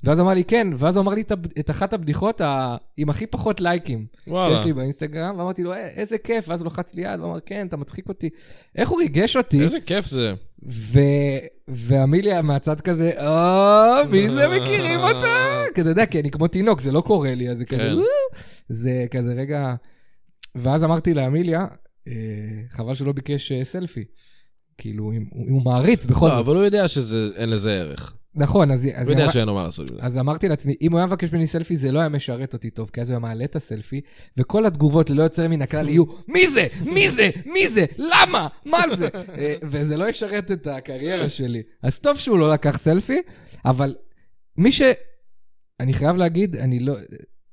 Speaker 3: ואז הוא אמר לי, כן, ואז הוא אמר לי את, הב- את אחת הבדיחות ה... עם הכי פחות לייקים.
Speaker 2: וואלה.
Speaker 3: שיש לי באינסטגרם, ואמרתי לו, "אה, איזה כיף, ואז הוא לחץ לי יד, ואמר, כן, אתה מצחיק אותי. איך הוא ריגש אותי,
Speaker 2: איזה כיף זה.
Speaker 3: ו... ואמיליה מהצד כזה, או, מי זה מכירים אותו? כי אתה יודע, כי אני כמו תינוק, זה לא קורה לי, אז זה כזה,
Speaker 2: כן.
Speaker 3: "וואו". זה כזה רגע... ואז אמרתי לאמיליה, "אה, חבל שהוא לא ביקש אה, סלפי. כאילו, אם אם הוא מעריץ בכל
Speaker 2: לא,
Speaker 3: זאת.
Speaker 2: אבל הוא יודע שאין לזה ערך.
Speaker 3: נכון, אז אז
Speaker 2: הוא
Speaker 3: היא
Speaker 2: יודע
Speaker 3: אמרה-
Speaker 2: שאין לו מה לעשות עם זה.
Speaker 3: אז אמרתי לעצמי, אם הוא היה מבקש ממני סלפי, זה לא היה משרת אותי טוב, כי אז הוא היה מעלה את הסלפי, וכל התגובות ללא יוצא מן הכלל יהיו, מי זה? מי זה? מי זה? למה? מה זה? אה, וזה לא ישרת את הקריירה שלי. אז טוב שהוא לא לקח סלפי, אבל מי ש... אני חייב להגיד, אני לא...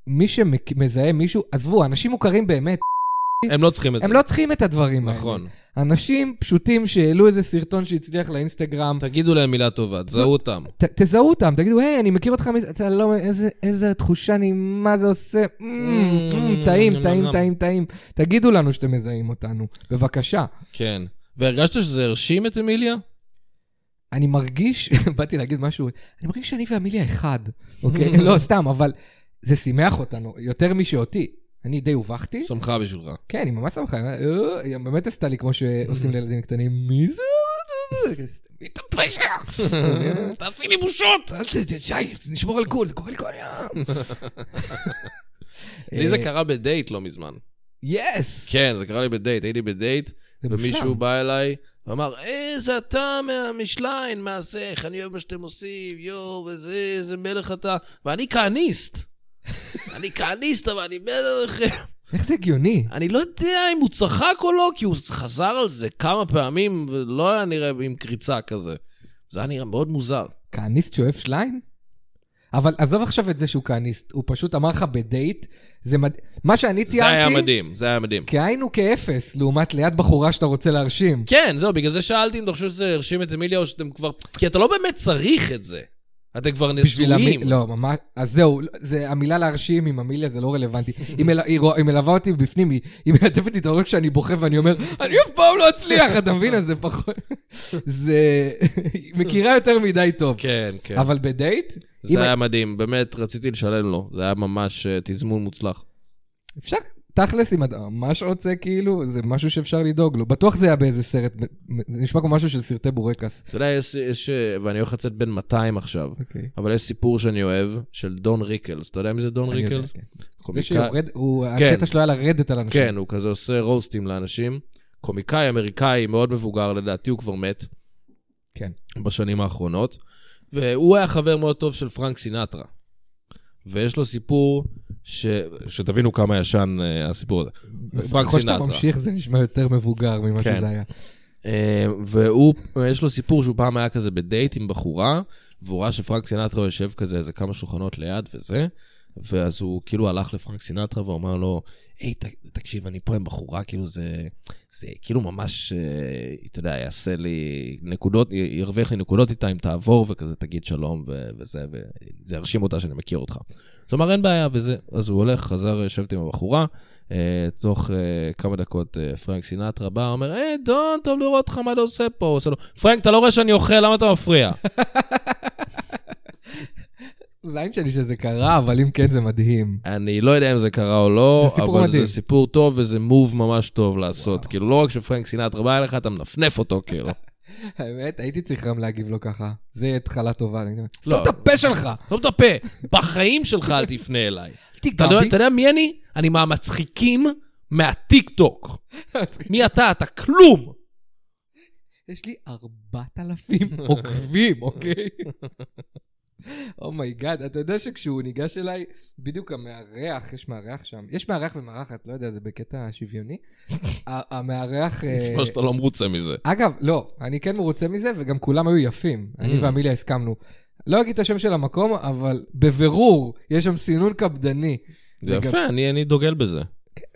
Speaker 3: מי שמזהה מישהו, עזבו, אנשים מוכרים באמת,
Speaker 2: הם לא צריכים את זה.
Speaker 3: הם לא צריכים את הדברים האלה.
Speaker 2: נכון.
Speaker 3: אנשים פשוטים שהעלו איזה סרטון שהצליח לאינסטגרם,
Speaker 2: תגידו להם מילה טובה, תזהו אותם.
Speaker 3: ת, תזהו אותם, תגידו, היי, אני מכיר אותך מזה, אתה לא, איזה, איזה תחושה נעימה זה עושה, "מ, מ,
Speaker 2: Mm,
Speaker 3: טעים,
Speaker 2: נם,
Speaker 3: טעים,
Speaker 2: נם.
Speaker 3: טעים, טעים. תגידו לנו שאתם מזהים אותנו, בבקשה.
Speaker 2: כן. והרגשת שזה הרשים את אמיליה?
Speaker 3: אני מרגיש, באתי להגיד משהו, אני מרגיש שאני ואמיליה אחד, אוקיי? לא, סתם, אבל זה שימח אותנו, יותר משאותי. אני די הובכתי.
Speaker 2: שמחה בשבילך.
Speaker 3: כן, היא ממש שמחה, היא אמרה, "אה", היא באמת עשתה לי כמו שעושים לילדים קטנים, מי זה? מי אתה פשע?
Speaker 2: תעשי לי בושות!
Speaker 3: שי, נשמור על קול, זה קורה לי כל היום.
Speaker 2: לי זה קרה בדייט לא מזמן.
Speaker 3: אה, יס!
Speaker 2: כן, זה קרה לי בדייט, הייתי בדייט,
Speaker 3: זה
Speaker 2: ומישהו
Speaker 3: מושלם.
Speaker 2: בא אליי ואמר, אה, זה אתה מהמשליין, מהזה, איך אני אוהב מה שאתם עושים, יואו, וזה, איזה מלך אתה. ואני כהניסט. אני כהניסט, אבל אני מת עליכם.
Speaker 3: איך זה הגיוני?
Speaker 2: אני לא יודע אם הוא צחק או לא, כי הוא חזר על זה כמה פעמים, ולא היה נראה עם קריצה כזה. זה היה נראה מאוד מוזר.
Speaker 3: כהניסט שאוהב שליים? אבל עזוב עכשיו את זה שהוא כהניסט, הוא פשוט אמר לך בדייט, זה מד... מה שאני תיארתי...
Speaker 2: זה היה מדהים, זה היה מדהים.
Speaker 3: כאין וכאפס, לעומת ליד בחורה שאתה רוצה להרשים.
Speaker 2: כן, זהו, בגלל זה שאלתי אם אתה חושב שזה הרשים את אמיליה או שאתם כבר... כי אתה לא באמת צריך את זה. אתם כבר
Speaker 3: בשביל
Speaker 2: נשואים.
Speaker 3: המי- לא, ממש... אז זהו, זה, המילה להרשים עם המיליה זה לא רלוונטי. היא, מל... היא, רוא- היא מלווה אותי בפנים, היא, היא מלטפת לי את הראש כשאני בוכה ואני אומר, אני אף פעם לא אצליח, אתה מבין? אז זה פחות... זה... היא מכירה יותר מדי טוב.
Speaker 2: כן, כן.
Speaker 3: אבל בדייט? אם-
Speaker 2: זה היה מדהים, באמת, רציתי לשלם לו. זה היה ממש אה, תזמון מוצלח.
Speaker 3: אפשר, תכלס, אם אתה ממש רוצה, כאילו, זה משהו שאפשר לדאוג לו. בטוח זה היה באיזה סרט, זה נשמע כמו משהו של סרטי בורקס.
Speaker 2: אתה יודע, יש, יש, אה, ואני הולך לצאת בן 200 עכשיו,
Speaker 3: אוקיי.
Speaker 2: אבל יש סיפור שאני אוהב, של דון ריקלס. אתה יודע מי זה דון
Speaker 3: אני יודע,
Speaker 2: ריקלס?
Speaker 3: כן.
Speaker 2: קומיקאי-
Speaker 3: זה שיורד, הוא-
Speaker 2: כן.
Speaker 3: הקטע שלו היה לרדת על אנשים.
Speaker 2: כן, הוא כזה עושה רוסטים לאנשים. קומיקאי אמריקאי מאוד מבוגר, לדעתי הוא כבר מת
Speaker 3: כן.
Speaker 2: בשנים האחרונות. והוא היה חבר מאוד טוב של פרנק סינטרה. ויש לו סיפור, ש... שתבינו כמה ישן אה, הסיפור הזה. פרנק
Speaker 3: ככל שאתה
Speaker 2: סינטרה.
Speaker 3: ממשיך, זה נשמע יותר מבוגר ממה
Speaker 2: כן.
Speaker 3: שזה היה.
Speaker 2: אה, והוא, יש לו סיפור שהוא פעם היה כזה בדייט עם בחורה, והוא ראה שפרנק סינטרה יושב כזה איזה כמה שולחנות ליד וזה, ואז הוא כאילו הלך לפרנק סינטרה ואמר לו, היי, ת, תקשיב, אני פה עם בחורה, כאילו זה, זה כאילו ממש, אה, אתה יודע, יעשה לי נקודות, י- ירוויח לי נקודות איתה אם תעבור, וכזה תגיד שלום ו- וזה, וזה ירשים אותה שאני מכיר אותך. אז הוא אמר, אין בעיה, וזה. אז הוא הולך, חזר, יושבת עם הבחורה, אה, תוך אה, כמה דקות אה, פרנק סינטרה בא, אומר, היי, דון, טוב לראות אותך, מה אתה עושה פה? הוא עושה לו, פרנק, אתה לא רואה שאני אוכל, למה אתה מפריע?
Speaker 3: זין שלי שזה קרה, אבל אם כן זה מדהים.
Speaker 2: אני לא יודע אם זה קרה או לא,
Speaker 3: זה סיפור
Speaker 2: אבל
Speaker 3: מדהים.
Speaker 2: זה סיפור טוב וזה מוב ממש טוב לעשות. כאילו, לא רק שפרנק סינטרה בא אליך, אתה מנפנף אותו, כאילו.
Speaker 3: האמת, הייתי צריך גם להגיב לו ככה. זה יהיה התחלה טובה. אני אומר, סתום
Speaker 2: לא.
Speaker 3: את הפה שלך!
Speaker 2: לא מטפה, בחיים שלך אל תפנה אליי. אתה
Speaker 3: תיגע
Speaker 2: יודע-
Speaker 3: בי.
Speaker 2: אתה יודע מי אני? אני מהמצחיקים מהטיק-טוק. מי אתה? אתה כלום.
Speaker 3: יש לי 4,000 עוקבים, אוקיי? אומייגאד, אתה יודע שכשהוא ניגש אליי, בדיוק המארח, יש מארח שם, יש מארח ומארחת, לא יודע, זה בקטע שוויוני. ה- המארח... אה,
Speaker 2: נשמע שאתה לא מרוצה מזה.
Speaker 3: אגב, לא, אני כן מרוצה מזה, וגם כולם היו יפים. אני
Speaker 2: Mm.
Speaker 3: ואמיליה הסכמנו. לא אגיד את השם של המקום, אבל בבירור, יש שם סינון קפדני.
Speaker 2: זה
Speaker 3: לגב-
Speaker 2: יפה, אני אני דוגל בזה.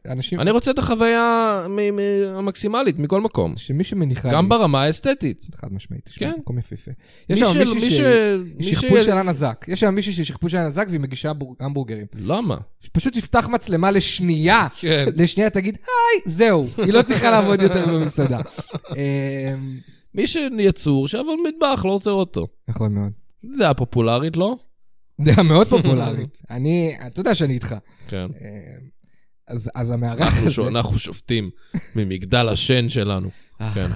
Speaker 3: אנשים...
Speaker 2: אני רוצה את החוויה מ- מ- המקסימלית מכל מקום.
Speaker 3: שמי שמניחה...
Speaker 2: גם
Speaker 3: לי-
Speaker 2: ברמה האסתטית.
Speaker 3: חד משמעית, יש שם
Speaker 2: כן.
Speaker 3: מקום יפהפה. יש
Speaker 2: מי
Speaker 3: שם
Speaker 2: של-
Speaker 3: מישהי
Speaker 2: מי
Speaker 3: ש...
Speaker 2: ש-
Speaker 3: היא
Speaker 2: מי
Speaker 3: שכפול
Speaker 2: ש-
Speaker 3: של הנזק. יש שם מישהי שהיא שכפול של הנזק והיא מגישה בור- המבורגרים.
Speaker 2: למה?
Speaker 3: פשוט תפתח מצלמה לשנייה.
Speaker 2: כן.
Speaker 3: לשנייה תגיד, היי, זהו. היא לא צריכה לעבוד יותר במסעדה. אמ,
Speaker 2: מי שיצור שיעבוד במטבח, לא רוצה לראות אותו.
Speaker 3: נכון מאוד.
Speaker 2: זה דעה פופולרית, לא?
Speaker 3: דעה מאוד פופולרית. אני, אתה יודע שאני איתך.
Speaker 2: כן.
Speaker 3: אמ, אז, אז המארח
Speaker 2: אנחנו ש-
Speaker 3: הזה,
Speaker 2: אנחנו שופטים ממגדל השן שלנו. כן.
Speaker 3: אה,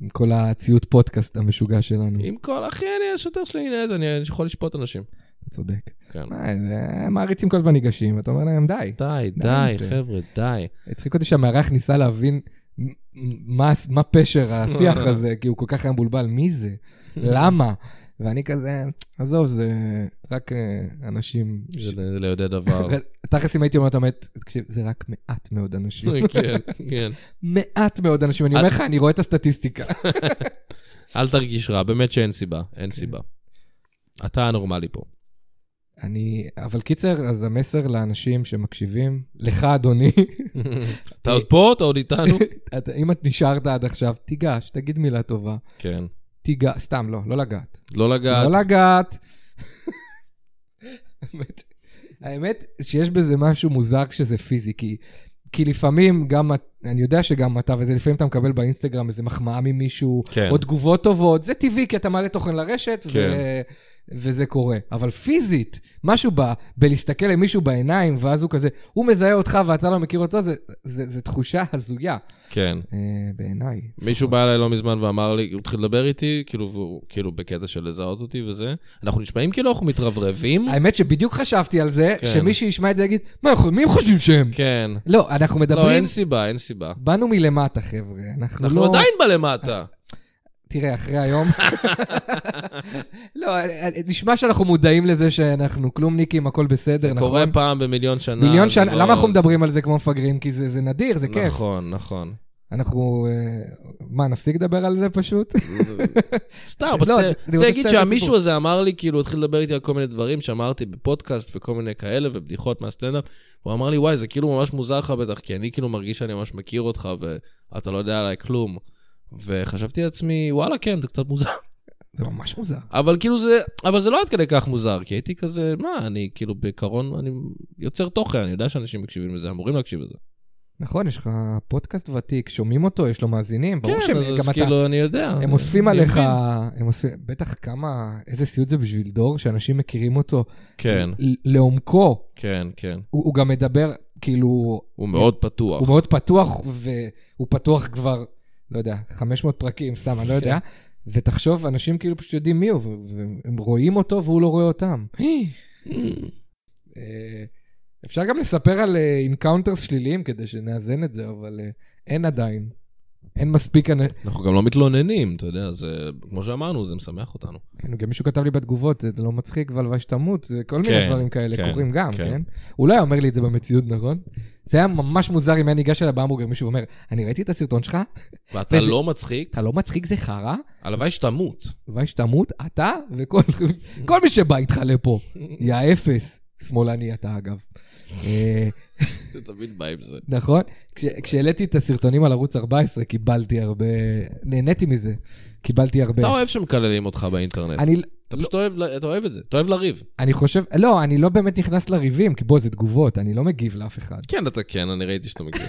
Speaker 3: עם כל הציוד פודקאסט המשוגע שלנו,
Speaker 2: עם כל, אחי, אני השוטר שלי, הנה, אז אני אני יכול לשפוט אנשים.
Speaker 3: אתה צודק.
Speaker 2: כן.
Speaker 3: מה, זה- מעריצים כל הזמן ניגשים, ואתה אומר להם, די.
Speaker 2: די,
Speaker 3: די
Speaker 2: די,
Speaker 3: עם זה.
Speaker 2: חבר'ה, די.
Speaker 3: הצחיק אותי שהמארח ניסה להבין מ- מ- מה, מה פשר השיח הזה, כי הוא כל כך היה מבולבל, מי זה? למה? ואני כזה, עזוב, זה רק אה, אנשים... ש-
Speaker 2: זה לא- זה ליודע דבר.
Speaker 3: תכלס, אם הייתי אומר, אתה אומר, תקשיב, זה רק מעט מאוד אנשים.
Speaker 2: כן, כן.
Speaker 3: מעט מאוד אנשים. אני אומר לך, אני רואה את הסטטיסטיקה.
Speaker 2: אל תרגיש רע, באמת שאין סיבה,
Speaker 3: כן.
Speaker 2: אין סיבה. אתה הנורמלי פה.
Speaker 3: אני... אבל קיצר, אז המסר לאנשים שמקשיבים, לך, אדוני,
Speaker 2: אתה עוד פה? אתה עוד איתנו?
Speaker 3: אתה- אם את נשארת עד עכשיו, תיגש, תגיד מילה טובה.
Speaker 2: כן.
Speaker 3: תיגש, סתם, לא, לא לגעת.
Speaker 2: לא לגעת.
Speaker 3: לא לגעת. האמת- האמת שיש בזה משהו מוזר כשזה פיזי, כי, כי לפעמים גם, את- אני יודע שגם אתה, וזה לפעמים אתה מקבל באינסטגרם איזה מחמאה ממישהו,
Speaker 2: כן.
Speaker 3: או תגובות טובות, זה טבעי, כי אתה מעלה תוכן לרשת,
Speaker 2: כן.
Speaker 3: ו... וזה קורה. אבל פיזית, משהו ב... בלהסתכל למישהו בעיניים, ואז הוא כזה, הוא מזהה אותך ואתה לא מכיר אותו, זה, זה, זה תחושה הזויה,
Speaker 2: כן.
Speaker 3: אה, בעיניי.
Speaker 2: מישהו בא אליי לא מזמן ואמר לי, הוא התחיל לדבר איתי, כאילו, והוא- כאילו בקטע של לזהות אותי וזה. אנחנו נשמעים כאילו אנחנו מתרברבים.
Speaker 3: האמת שבדיוק חשבתי על זה,
Speaker 2: כן.
Speaker 3: שמי שישמע את זה יגיד, מה, אנחנו- מי הם חושבים שהם?
Speaker 2: כן.
Speaker 3: לא, אנחנו
Speaker 2: לא,
Speaker 3: מדברים,
Speaker 2: אין סיבה, אין סיבה.
Speaker 3: באנו מלמטה, חבר'ה. אנחנו
Speaker 2: אנחנו
Speaker 3: לא...
Speaker 2: עדיין בלמטה.
Speaker 3: תראה, אחרי היום... לא, נשמע שאנחנו מודעים לזה שאנחנו כלומניקים, הכל בסדר, נכון?
Speaker 2: קורה פעם במיליון שנה.
Speaker 3: מיליון
Speaker 2: זה
Speaker 3: שנה,
Speaker 2: לא-
Speaker 3: למה אנחנו מדברים על זה כמו מפגרים? כי זה זה נדיר, זה כיף.
Speaker 2: נכון, נכון.
Speaker 3: אנחנו... אה, מה, נפסיק לדבר על זה פשוט?
Speaker 2: סתם,
Speaker 3: לא,
Speaker 2: אבל
Speaker 3: אני
Speaker 2: זה- זה
Speaker 3: רוצה
Speaker 2: להגיד
Speaker 3: לסיים את
Speaker 2: שהמישהו
Speaker 3: הסיפור.
Speaker 2: הזה אמר לי, כאילו, התחיל לדבר איתי על כל מיני דברים שאמרתי בפודקאסט וכל מיני כאלה, ובדיחות מהסטנדאפ. הוא אמר לי, וואי, זה כאילו ממש מוזר לך בטח, כי אני כאילו מרגיש שאני ממש מכיר אותך, ואתה לא יודע עליי כלום. וחשבתי לעצמי, וואלה, כן, זה קצת מוזר.
Speaker 3: זה ממש מוזר.
Speaker 2: אבל כאילו זה, אבל זה לא עד כדי כך מוזר, כי הייתי כזה, מה, אני כאילו בעיקרון, אני יוצר תוכן, אני יודע שאנשים מקשיבים לזה, אמורים להקשיב לזה.
Speaker 3: נכון, יש לך פודקאסט ותיק, שומעים אותו, יש לו מאזינים, ברור
Speaker 2: כן,
Speaker 3: שהם,
Speaker 2: אז, אז
Speaker 3: גם אתה,
Speaker 2: כאילו, אה, אני יודע.
Speaker 3: הם אוספים עליך,
Speaker 2: יבין.
Speaker 3: הם אוספים, בטח כמה, איזה סיוט זה בשביל דור, שאנשים מכירים אותו
Speaker 2: כן,
Speaker 3: ל- לעומקו.
Speaker 2: כן, כן.
Speaker 3: הוא, הוא גם מדבר, כאילו,
Speaker 2: הוא מאוד פתוח.
Speaker 3: הוא מאוד פתוח, והוא פתוח כבר, לא יודע, 500 פרקים, סתם, אני לא יודע.
Speaker 4: כן.
Speaker 3: ותחשוב, אנשים כאילו פשוט יודעים מי הוא, ו- והם רואים אותו והוא לא רואה אותם.
Speaker 2: Mm.
Speaker 3: אה, אפשר גם לספר על אינקאונטרס שליליים כדי שנאזן את זה, אבל אה, אין עדיין. אין מספיק... אנ-
Speaker 4: אנחנו גם לא מתלוננים, אתה יודע, זה, כמו שאמרנו, זה משמח אותנו.
Speaker 3: כן, גם מישהו כתב לי בתגובות, זה לא מצחיק והלוואי שתמות, זה כל מיני
Speaker 4: כן,
Speaker 3: דברים כאלה
Speaker 4: כן,
Speaker 3: קורים גם,
Speaker 4: כן.
Speaker 3: כן? הוא לא היה אומר לי את זה במציאות, נכון? זה היה ממש מוזר אם היה ניגש אליי בהמבורגר, מישהו אומר, אני ראיתי את הסרטון שלך,
Speaker 2: ואתה
Speaker 3: וזה-
Speaker 2: לא מצחיק,
Speaker 3: אתה לא מצחיק, זה חרא,
Speaker 2: הלוואי שתמות.
Speaker 3: הלוואי שתמות, אתה וכל כל מי שבא איתך לפה. יא אפס. שמאלני אתה, אגב. אה,
Speaker 2: זה תמיד בא עם זה.
Speaker 3: נכון? כש- כשהעליתי את הסרטונים על ערוץ 14, קיבלתי הרבה... נהניתי מזה. קיבלתי הרבה.
Speaker 2: אתה אוהב שמקללים אותך באינטרנט.
Speaker 3: אני, לא-
Speaker 2: אתה פשוט אוהב, ל- אתה אוהב את זה, אתה אוהב לריב.
Speaker 3: אני חושב, לא, אני לא באמת נכנס לריבים, כי בוא, זה תגובות, אני לא מגיב לאף אחד.
Speaker 2: כן, אתה כן, אני ראיתי שאתה מגיב.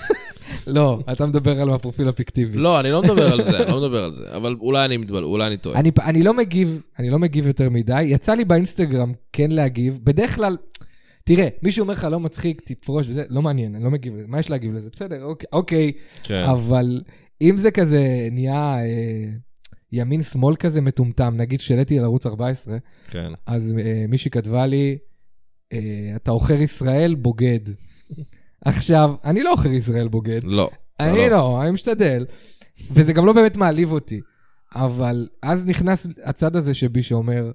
Speaker 3: לא, אתה מדבר על הפרופיל הפיקטיבי.
Speaker 2: לא, אני לא מדבר על זה, אני לא מדבר על זה. אבל אולי אני מתבלבל, אולי אני טועה.
Speaker 3: אני, פ- אני לא מגיב, אני לא מגיב יותר מדי. יצא לי באינסטגרם כן להגיב. בדרך כלל, תראה, מישהו אומר לך לא מצחיק, תפרוש וזה, לא מעניין, אני לא מגיב לזה. מה יש להגיב לזה? בסדר, אוקיי. אוקיי.
Speaker 4: כן.
Speaker 3: אבל אם זה כזה נהיה אה, ימין-שמאל כזה מטומטם, נגיד שהעליתי על ערוץ 14,
Speaker 4: כן.
Speaker 3: אז אה, מישהי כתבה לי, אה, אתה עוכר ישראל בוגד. עכשיו, אני לא עוכר ישראל בוגד.
Speaker 2: לא.
Speaker 3: אני לא, אני משתדל. וזה גם לא באמת מעליב אותי. אבל אז נכנס הצד הזה שבי שאומר,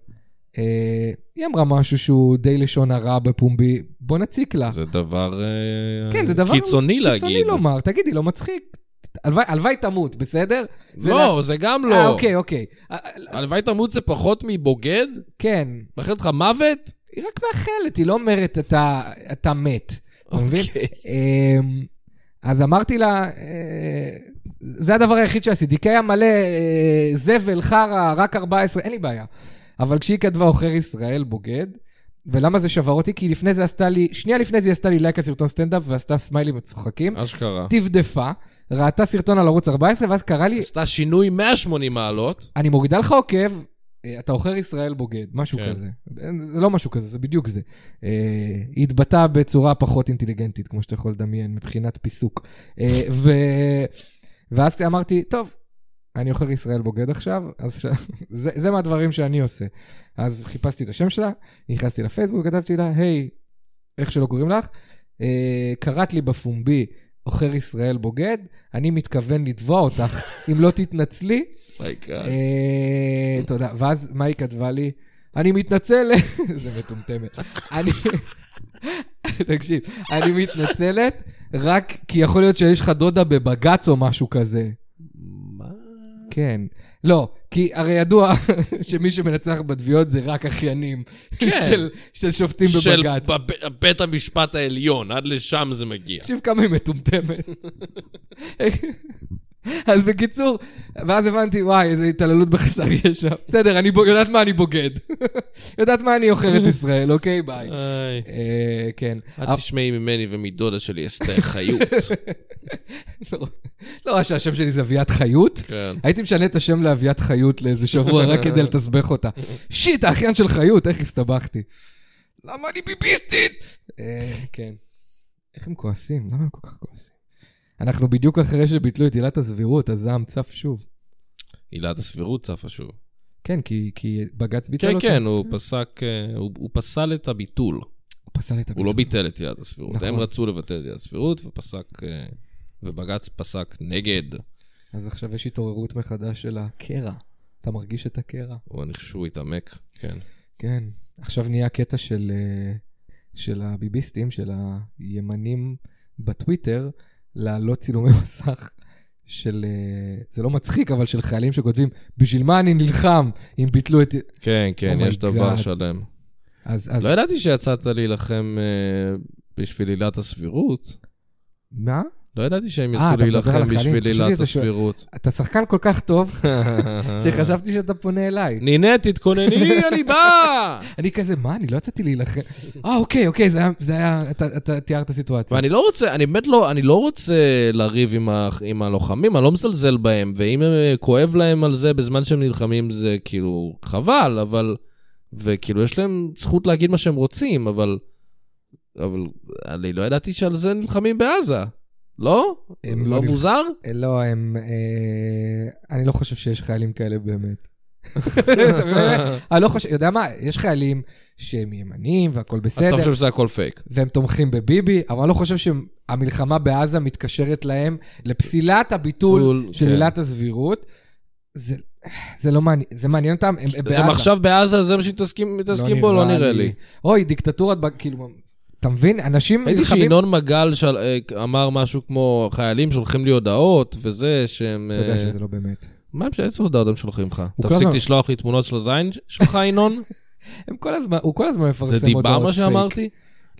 Speaker 3: אה, היא אמרה משהו שהוא די לשון הרע בפומבי, בוא נציק לה.
Speaker 4: זה דבר... אה,
Speaker 3: כן, זה דבר
Speaker 4: קיצוני להגיד.
Speaker 3: קיצוני לומר, תגידי, לא מצחיק. הלוואי- הלוואי תמות, בסדר? זה
Speaker 2: לא, זה גם
Speaker 3: אה,
Speaker 2: לא.
Speaker 3: אוקיי, אוקיי. אה, אה,
Speaker 2: הלוואי תמות זה פחות מבוגד?
Speaker 3: כן,
Speaker 2: מאחל לך מוות?
Speaker 3: היא רק מאחלת, היא לא אומרת, אתה, אתה מת. אתה מבין? אמ, אז אמרתי לה, אה, זה הדבר היחיד שעשיתי, כי היה מלא אה, זבל, חרא, רק 14, אין לי בעיה. אבל כשהיא כתבה עוכר ישראל בוגד, ולמה זה שבר אותי? כי לפני זה עשתה לי, שנייה לפני זה היא עשתה לי לייק על סרטון סטנדאפ ועשתה סמיילים
Speaker 2: אה.
Speaker 3: מצוחקים,
Speaker 4: אשכרה.
Speaker 3: דפדפה, ראתה סרטון על ערוץ 14, ואז קרא לי,
Speaker 2: עשתה שינוי 180 מעלות.
Speaker 3: אני מורידה לך עוקב, אה, אתה עוכר ישראל בוגד, משהו
Speaker 4: כן.
Speaker 3: כזה. זה לא משהו כזה, זה בדיוק זה. אה, היא התבטאה בצורה פחות אינטליגנטית, כמו שאתה יכול לדמיין, מבחינת פיסוק. אה, ו... ואז אמרתי, טוב, אני עוכר ישראל בוגד עכשיו, אז ש... זה, זה מהדברים שאני עושה. אז חיפשתי את השם שלה, נכנסתי לפייסבוק, כתבתי לה, היי, איך שלא קוראים לך, אה, קראת לי בפומבי עוכר ישראל בוגד, אני מתכוון לתבוע אותך אם לא תתנצלי.
Speaker 2: מייקה.
Speaker 3: אה, תודה. ואז מה היא כתבה לי? אני מתנצלת. זה מטומטמת. אני... תקשיב, אני מתנצלת רק כי יכול להיות שיש לך דודה בבג"ץ או משהו כזה.
Speaker 2: מה?
Speaker 3: כן. לא, כי הרי ידוע שמי שמנצח בתביעות זה רק אחיינים של, של שופטים
Speaker 2: כן. של
Speaker 3: בבג"ץ.
Speaker 2: בב- בית המשפט העליון, עד לשם זה מגיע.
Speaker 3: תקשיב כמה היא מטומטמת. אז בקיצור, ואז הבנתי, וואי, איזה התעללות בחסר ישע. בסדר, אני בוג... יודעת מה אני בוגד. יודעת מה אני עוכר את ישראל, אוקיי, ביי.
Speaker 2: איי.
Speaker 3: אה, כן.
Speaker 2: את
Speaker 3: אבל-
Speaker 2: תשמעי ממני ומדודה שלי אסתר חיות.
Speaker 3: לא- לא רע שהשם שלי זה אביעד חיות.
Speaker 2: כן.
Speaker 3: הייתי משנה את השם לאביעד חיות לאיזה שבוע רק כדי לתסבך אותה. שיט, האחיין של חיות, איך הסתבכתי. למה אני ביביסטית? אה, כן. איך הם כועסים? למה הם כל כך כועסים? אנחנו בדיוק אחרי שביטלו את עילת הסבירות, הזעם צף שוב.
Speaker 4: עילת הסבירות צפה שוב.
Speaker 3: כן, כי, כי בג"ץ ביטל
Speaker 4: כן,
Speaker 3: אותו.
Speaker 4: כן, הוא פסק, אה, הוא הוא פסל את הביטול.
Speaker 3: הוא פסל את
Speaker 4: הוא
Speaker 3: הביטול.
Speaker 4: לא ביטל את עילת הסבירות.
Speaker 3: נכון.
Speaker 4: הם רצו לבטל את עילת הסבירות, ופסק, אה, ובג"ץ פסק נגד.
Speaker 3: אז עכשיו יש התעוררות מחדש של הקרע. אתה מרגיש את הקרע.
Speaker 4: הוא- אני חושב שהוא התעמק, כן.
Speaker 3: כן. עכשיו נהיה הקטע של, אה, של הביביסטים, של הימנים בטוויטר, להעלות צילומי מסך של, אה, זה לא מצחיק, אבל של חיילים שכותבים, בשביל מה אני נלחם אם ביטלו את...
Speaker 4: כן, כן,
Speaker 3: Oh my
Speaker 4: יש דבר
Speaker 3: God.
Speaker 4: שלם.
Speaker 3: אז, אז...
Speaker 4: לא ידעתי שיצאת להילחם אה, בשביל עילת הסבירות.
Speaker 3: מה?
Speaker 2: לא ידעתי שהם
Speaker 3: אה,
Speaker 2: ירצו
Speaker 3: אתה מדבר על
Speaker 2: להילחם
Speaker 3: החיילים?
Speaker 2: בשביל
Speaker 3: חשבתי
Speaker 2: עילת
Speaker 3: שאתה שואל.
Speaker 2: הסבירות.
Speaker 3: אתה שחקן כל כך טוב,
Speaker 2: אה.
Speaker 3: שחשבתי שאתה פונה אליי.
Speaker 2: נינה, תתכונני, אני בא!
Speaker 3: אני כזה, מה? אני לא יצאתי להילחם. אה, אוקיי, אוקיי, זה היה- זה היה... אתה- אתה תיארת סיטואציה.
Speaker 2: ואני לא רוצה, אני באמת לא, אני לא רוצה לריב עם, ה, עם הלוחמים, אני לא מזלזל בהם, ואם הם, אה, כואב להם על זה בזמן שהם נלחמים, זה כאילו חבל, אבל... וכאילו, יש להם זכות להגיד מה שהם רוצים, אבל... אבל אני לא ידעתי שעל זה נלחמים בעזה. לא?
Speaker 3: הם לא
Speaker 2: לא
Speaker 3: נלח-
Speaker 2: מוזר?
Speaker 3: אה, לא, הם... אה, אני לא חושב שיש חיילים כאלה באמת. אתה באמת? אני לא חושב, יודע מה, יש חיילים שהם ימנים והכול
Speaker 2: אז אתה
Speaker 3: בסדר,
Speaker 2: חושב שזה הכל פייק.
Speaker 3: והם תומכים בביבי, אבל אני לא חושב שהמלחמה בעזה מתקשרת להם לפסילת הביטול
Speaker 2: בול,
Speaker 3: של
Speaker 2: כן.
Speaker 3: עילת הסבירות. זה- זה לא מעניין, זה מעניין אותם, הם בעזה.
Speaker 2: הם עכשיו בעזה, זה מה שמתעסקים מתעסקים בו? לא נראה לי.
Speaker 3: אוי, דיקטטורת, ב- כאילו, אתה מבין? אנשים
Speaker 2: ראיתי
Speaker 3: נלחמים...
Speaker 2: שינון מגל של- אה, אמר משהו כמו, חיילים שולחים לי הודעות, וזה שהם...
Speaker 3: אתה יודע
Speaker 2: אה,
Speaker 3: שזה לא באמת.
Speaker 2: מה הם ש- איזה הודעות הם שולחים לך?
Speaker 3: הוא כל
Speaker 2: תפסיק
Speaker 3: הזמן-
Speaker 2: לשלוח לי תמונות של הזין ש- שלך, ינון?
Speaker 3: הם כל הזמן, הוא כל הזמן מפרסם
Speaker 2: זה
Speaker 3: הודעות פייק.
Speaker 2: דיבה מה שאמרתי?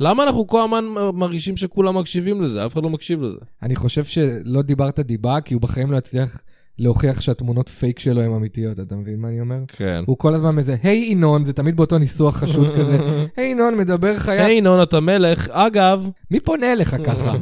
Speaker 2: למה אנחנו כל הזמן מרגישים שכולם מקשיבים לזה? אף אחד לא מקשיב לזה.
Speaker 3: אני חושב שלא דיברת דיבה, כי הוא בחיים לא יצליח להוכיח שהתמונות פייק שלו הן אמיתיות, אתה מבין מה אני אומר?
Speaker 2: כן.
Speaker 3: הוא כל הזמן מזה, היי ינון, זה תמיד באותו ניסוח חשוד כזה, היי ינון, מדבר חיה,
Speaker 2: היי, ינון, אתה מלך. אגב,
Speaker 3: מי פונה אליך ככה?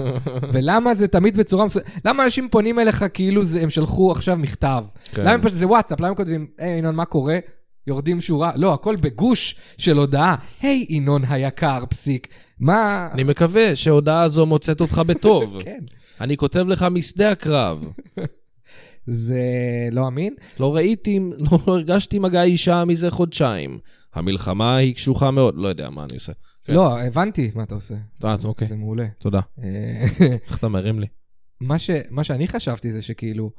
Speaker 3: ולמה זה תמיד בצורה מסוימת? למה אנשים פונים אליך כאילו זה- הם שלחו עכשיו מכתב?
Speaker 2: כן.
Speaker 3: למה הם פשוט, זה וואטסאפ, למה הם כותבים, היי ינון, מה קורה? יורדים שורה, לא, הכל בגוש של הודעה, היי ינון היקר, פסיק. מה...
Speaker 2: אני מקווה שההודעה הזו מוצאת אותך בטוב.
Speaker 3: כן.
Speaker 2: אני כותב לך משדה הקרב.
Speaker 3: זה לא אמין?
Speaker 2: לא ראיתי, לא הרגשתי מגע אישה מזה חודשיים. המלחמה היא קשוחה מאוד. לא יודע מה אני עושה. כן.
Speaker 3: לא, הבנתי מה אתה עושה.
Speaker 2: אה, אוקיי,
Speaker 3: זה מעולה.
Speaker 2: תודה.
Speaker 3: אה,
Speaker 2: איך אתה מרים לי?
Speaker 3: מה, ש, מה שאני חשבתי זה שכאילו,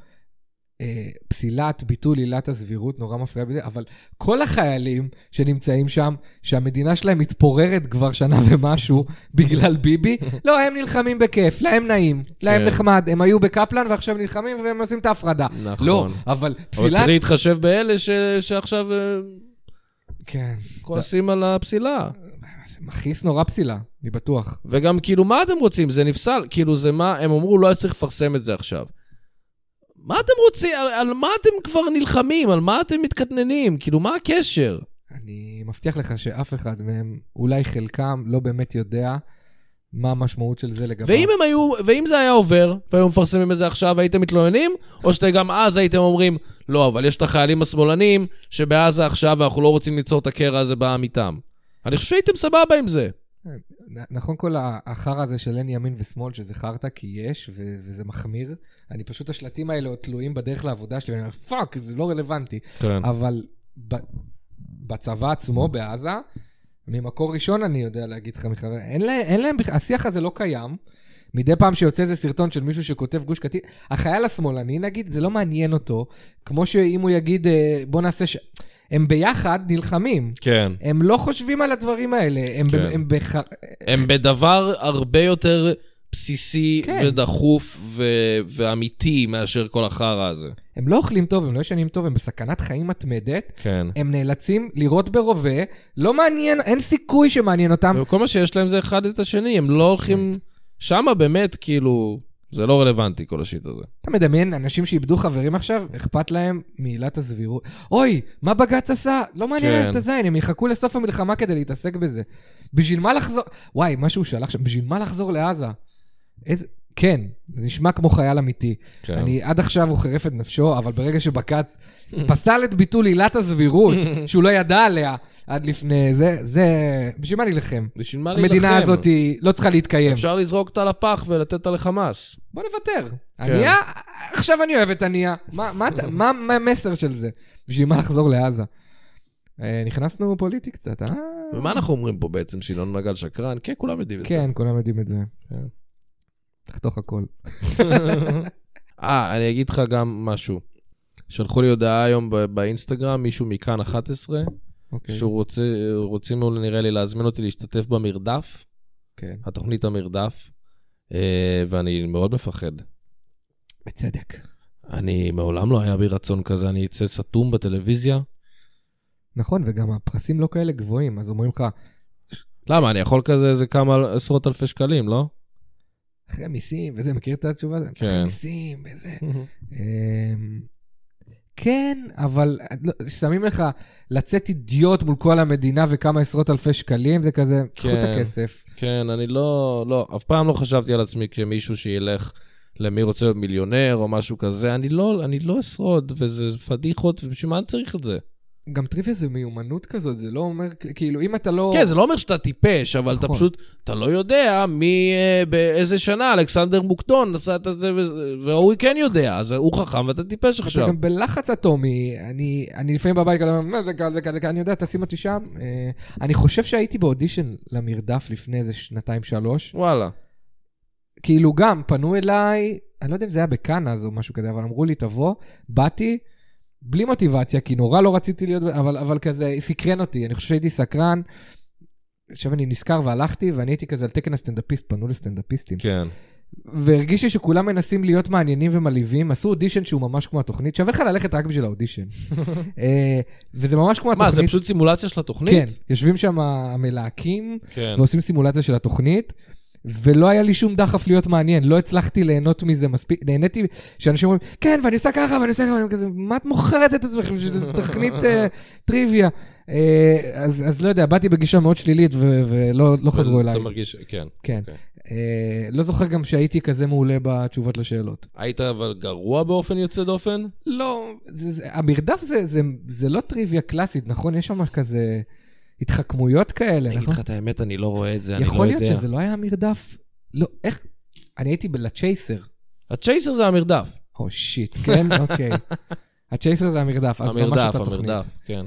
Speaker 3: אה, פסילת ביטול עילת הסבירות נורא מפריעה בזה, אבל כל החיילים שנמצאים שם, שהמדינה שלהם מתפוררת כבר שנה ומשהו בגלל ביבי, לא, הם נלחמים בכיף, להם נעים, להם
Speaker 2: כן.
Speaker 3: נחמד, הם היו בקפלן ועכשיו נלחמים והם עושים את ההפרדה.
Speaker 2: נכון.
Speaker 3: לא, אבל
Speaker 2: אבל
Speaker 3: פסילת...
Speaker 2: צריך להתחשב באלה ש- שעכשיו אה,
Speaker 3: כן,
Speaker 2: כועסים על הפסילה.
Speaker 3: זה מכעיס נורא פסילה, אני בטוח.
Speaker 2: וגם כאילו, מה אתם רוצים? זה נפסל. כאילו, זה מה, הם אמרו, לא היה צריך לפרסם את זה עכשיו. מה אתם רוצים? על, על מה אתם כבר נלחמים? על מה אתם מתקטננים? כאילו, מה הקשר?
Speaker 3: אני מבטיח לך שאף אחד מהם, אולי חלקם, לא באמת יודע מה המשמעות של זה לגביו.
Speaker 2: ואם הם היו, ואם זה היה עובר, והיו מפרסמים את זה עכשיו, הייתם מתלוננים? או שגם אז הייתם אומרים, לא, אבל יש את החיילים השמאלנים שבעזה עכשיו, ואנחנו לא רוצים ליצור את הקרע הזה בעם איתם. אני חושב שהייתם סבבה עם זה.
Speaker 3: נ- נכון כל ה- החרא הזה של אין ימין ושמאל, שזה חרטא כי יש, ו- וזה מחמיר. אני פשוט, השלטים האלה עוד תלויים בדרך לעבודה שלי, ואני אומר, פאק, זה לא רלוונטי.
Speaker 2: כן.
Speaker 3: אבל ב- בצבא עצמו, בעזה, ממקור ראשון אני יודע להגיד לך, מחבר, אין, לה, אין להם, בכ- השיח הזה לא קיים. מדי פעם שיוצא איזה סרטון של מישהו שכותב גוש קטיף, החייל השמאלני נגיד, זה לא מעניין אותו, כמו שאם הוא יגיד, אה, בוא נעשה ש... הם ביחד נלחמים.
Speaker 2: כן.
Speaker 3: הם לא חושבים על הדברים האלה, הם, כן.
Speaker 2: כן.
Speaker 3: הם בח...
Speaker 2: הם בדבר הרבה יותר בסיסי
Speaker 3: כן.
Speaker 2: כן. ודחוף ו- ואמיתי מאשר כל החרא הזה.
Speaker 3: הם לא אוכלים טוב, הם לא ישנים טוב, הם בסכנת חיים מתמדת.
Speaker 2: כן.
Speaker 3: הם נאלצים לירות ברובה, לא מעניין, אין סיכוי שמעניין אותם.
Speaker 2: וכל מה שיש להם זה אחד את השני, הם לא
Speaker 3: כן.
Speaker 2: הולכים... שמה באמת, כאילו, זה לא רלוונטי כל השיט הזה.
Speaker 3: אתה מדמיין אנשים שאיבדו חברים עכשיו, אכפת להם מעילת הסבירות. אוי, מה בג"ץ עשה? לא מעניין
Speaker 2: כן.
Speaker 3: להם את הזין, הם יחכו לסוף המלחמה כדי להתעסק בזה. בשביל מה לחזור... וואי, מה שהוא שלח שם, בשביל מה לחזור לעזה? איזה... כן, זה נשמע כמו חייל אמיתי.
Speaker 2: כן.
Speaker 3: אני עד עכשיו הוא חירף את נפשו, אבל ברגע שבג"ץ פסל את ביטול עילת הסבירות, שהוא לא ידע עליה עד לפני זה, זה... בשביל מה נלחם?
Speaker 2: בשביל מה להילחם?
Speaker 3: המדינה הזאת היא לא צריכה להתקיים.
Speaker 2: אפשר לזרוק אותה לפח ולתת אותה לחמאס.
Speaker 3: בוא נוותר.
Speaker 2: כן.
Speaker 3: ענייה, עכשיו אני אוהב את ענייה. מה- מה אתה- מה מה המסר של זה? בשביל מה לחזור לעזה? אה, נכנסנו פוליטי קצת, אה?
Speaker 2: ומה אנחנו אומרים פה בעצם, שינון מגל שקרן? כן, כולם יודעים את זה.
Speaker 3: כן, כולם יודעים את זה.
Speaker 2: כן.
Speaker 3: תחתוך הכל.
Speaker 2: אה, אני אגיד לך גם משהו. שלחו לי הודעה היום ב- באינסטגרם, מישהו מכאן 11,
Speaker 3: אוקיי.
Speaker 2: שהוא רוצה, רוצים נראה לי להזמין אותי להשתתף במרדף.
Speaker 3: כן.
Speaker 2: התוכנית המרדף, אה, ואני מאוד מפחד.
Speaker 3: בצדק.
Speaker 2: אני, מעולם לא היה בי רצון כזה, אני אצא סתום בטלוויזיה.
Speaker 3: נכון, וגם הפרסים לא כאלה גבוהים, אז אומרים לך,
Speaker 2: למה, אני יכול כזה איזה כמה עשרות אלפי שקלים, לא?
Speaker 3: אחרי מיסים, וזה, מכיר את התשובה הזאת?
Speaker 2: כן.
Speaker 3: אחרי מיסים, וזה. אמ, כן, אבל לא, שמים לך לצאת אידיוט מול כל המדינה וכמה עשרות אלפי שקלים, זה כזה, קחו את
Speaker 2: כן.
Speaker 3: הכסף.
Speaker 2: כן, אני לא, לא, אף פעם לא חשבתי על עצמי כמישהו שילך למי רוצה להיות מיליונר או משהו כזה. אני לא, אני לא אשרוד, וזה פדיחות, ובשביל מה אני צריך את זה?
Speaker 3: גם טריוויה זה מיומנות כזאת, זה לא אומר, כאילו, אם אתה לא...
Speaker 2: כן, זה לא אומר שאתה טיפש, אבל אתה
Speaker 3: נכון.
Speaker 2: פשוט, אתה לא יודע מי, אה, באיזה שנה אלכסנדר בוקטון עשה את זה, וזה- והוא כן יודע, אז הוא חכם ואתה טיפש
Speaker 3: אתה
Speaker 2: עכשיו.
Speaker 3: גם בלחץ אטומי, אני, אני לפעמים בבית כזה אומר, "מה, זה כזה, זה כזה, כזה", אני יודע, תשים אותי שם. אה, אני חושב שהייתי באודישן למרדף לפני איזה שנתיים-שלוש.
Speaker 2: וואלה.
Speaker 3: כאילו גם, פנו אליי, אני לא יודע אם זה היה בכאן אז או משהו כזה, אבל אמרו לי, תבוא, באתי, בלי מוטיבציה, כי נורא לא רציתי להיות, אבל, אבל כזה, סקרן אותי, אני חושב שהייתי סקרן. עכשיו אני נזכר והלכתי, ואני הייתי כזה על תקן הסטנדאפיסט, פנו לסטנדאפיסטים.
Speaker 2: כן.
Speaker 3: והרגיש לי שכולם מנסים להיות מעניינים ומלהיבים, עשו אודישן שהוא ממש כמו התוכנית, שווה לך ללכת רק בשביל האודישן. אה, וזה ממש כמו התוכנית.
Speaker 2: מה, זה פשוט סימולציה של התוכנית?
Speaker 3: כן, יושבים שם המלהקים,
Speaker 2: כן.
Speaker 3: ועושים סימולציה של התוכנית, ולא היה לי שום דחף להיות מעניין, לא הצלחתי ליהנות מזה מספיק, נהניתי שאנשים אומרים, כן, ואני עושה ככה, ואני עושה ככה, ואני כזה, מה את מוכרת את עצמכם, שזו תוכנית אה, טריוויה. אה, אז אז לא יודע, באתי בגישה מאוד שלילית, ו- ולא לא חזרו אליי.
Speaker 2: אתה מרגיש, כן.
Speaker 3: כן.
Speaker 2: אוקיי.
Speaker 3: אה, לא זוכר גם שהייתי כזה מעולה בתשובות לשאלות.
Speaker 2: היית אבל גרוע באופן יוצא דופן?
Speaker 3: לא, זה, זה, המרדף זה, זה, זה לא טריוויה קלאסית, נכון? יש שם כזה התחכמויות כאלה,
Speaker 2: אני אגיד
Speaker 3: נכון?
Speaker 2: לך את האמת, אני לא רואה את זה, אני לא יודע.
Speaker 3: יכול להיות שזה לא היה מרדף? לא, איך? אני הייתי בלצ'ייסר.
Speaker 2: הצ'ייסר זה המרדף.
Speaker 3: או שיט, כן? אוקיי. הצ'ייסר זה המרדף, אז ממש
Speaker 2: המרדף,
Speaker 3: אותה תוכנית.
Speaker 2: המרדף, כן.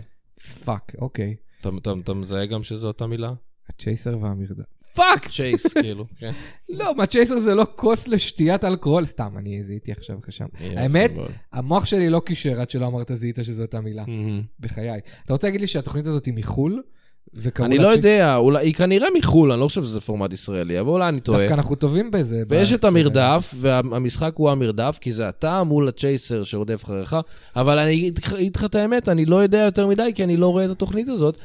Speaker 3: פאק, אוקיי.
Speaker 2: אתה- אתה אתה מזהה גם שזו אותה מילה?
Speaker 3: הצ'ייסר והמרדף.
Speaker 2: פאק! צ'ייס, כאילו, כן.
Speaker 3: לא, מה צ'ייסר זה לא כוס לשתיית אלכוהול, סתם, אני זיהיתי עכשיו כשם.
Speaker 2: יפה
Speaker 3: האמת,
Speaker 2: מאוד.
Speaker 3: המוח שלי לא קישר עד שלא אמרת זיהית שזו אותה מילה.
Speaker 2: Mm.
Speaker 3: בחיי. אתה רוצה להגיד לי שהתוכנית הזאת היא מחו"ל? וקראו
Speaker 2: אני
Speaker 3: לה
Speaker 2: לא
Speaker 3: צ'ייסר?
Speaker 2: יודע, אולי, היא כנראה מחו"ל, אני לא חושב שזה פורמט ישראלי, אבל אולי אני טועה.
Speaker 3: דווקא אנחנו טובים בזה.
Speaker 2: ויש את
Speaker 3: בהקשר הזה.
Speaker 2: המרדף, והמשחק הוא המרדף, כי זה אתה מול הצ'ייסר שרודף אחריך, אבל אני אגיד לך- אגיד לך את האמת, אני לא יודע יותר מדי, כי אני לא רואה את התוכנית הזאת,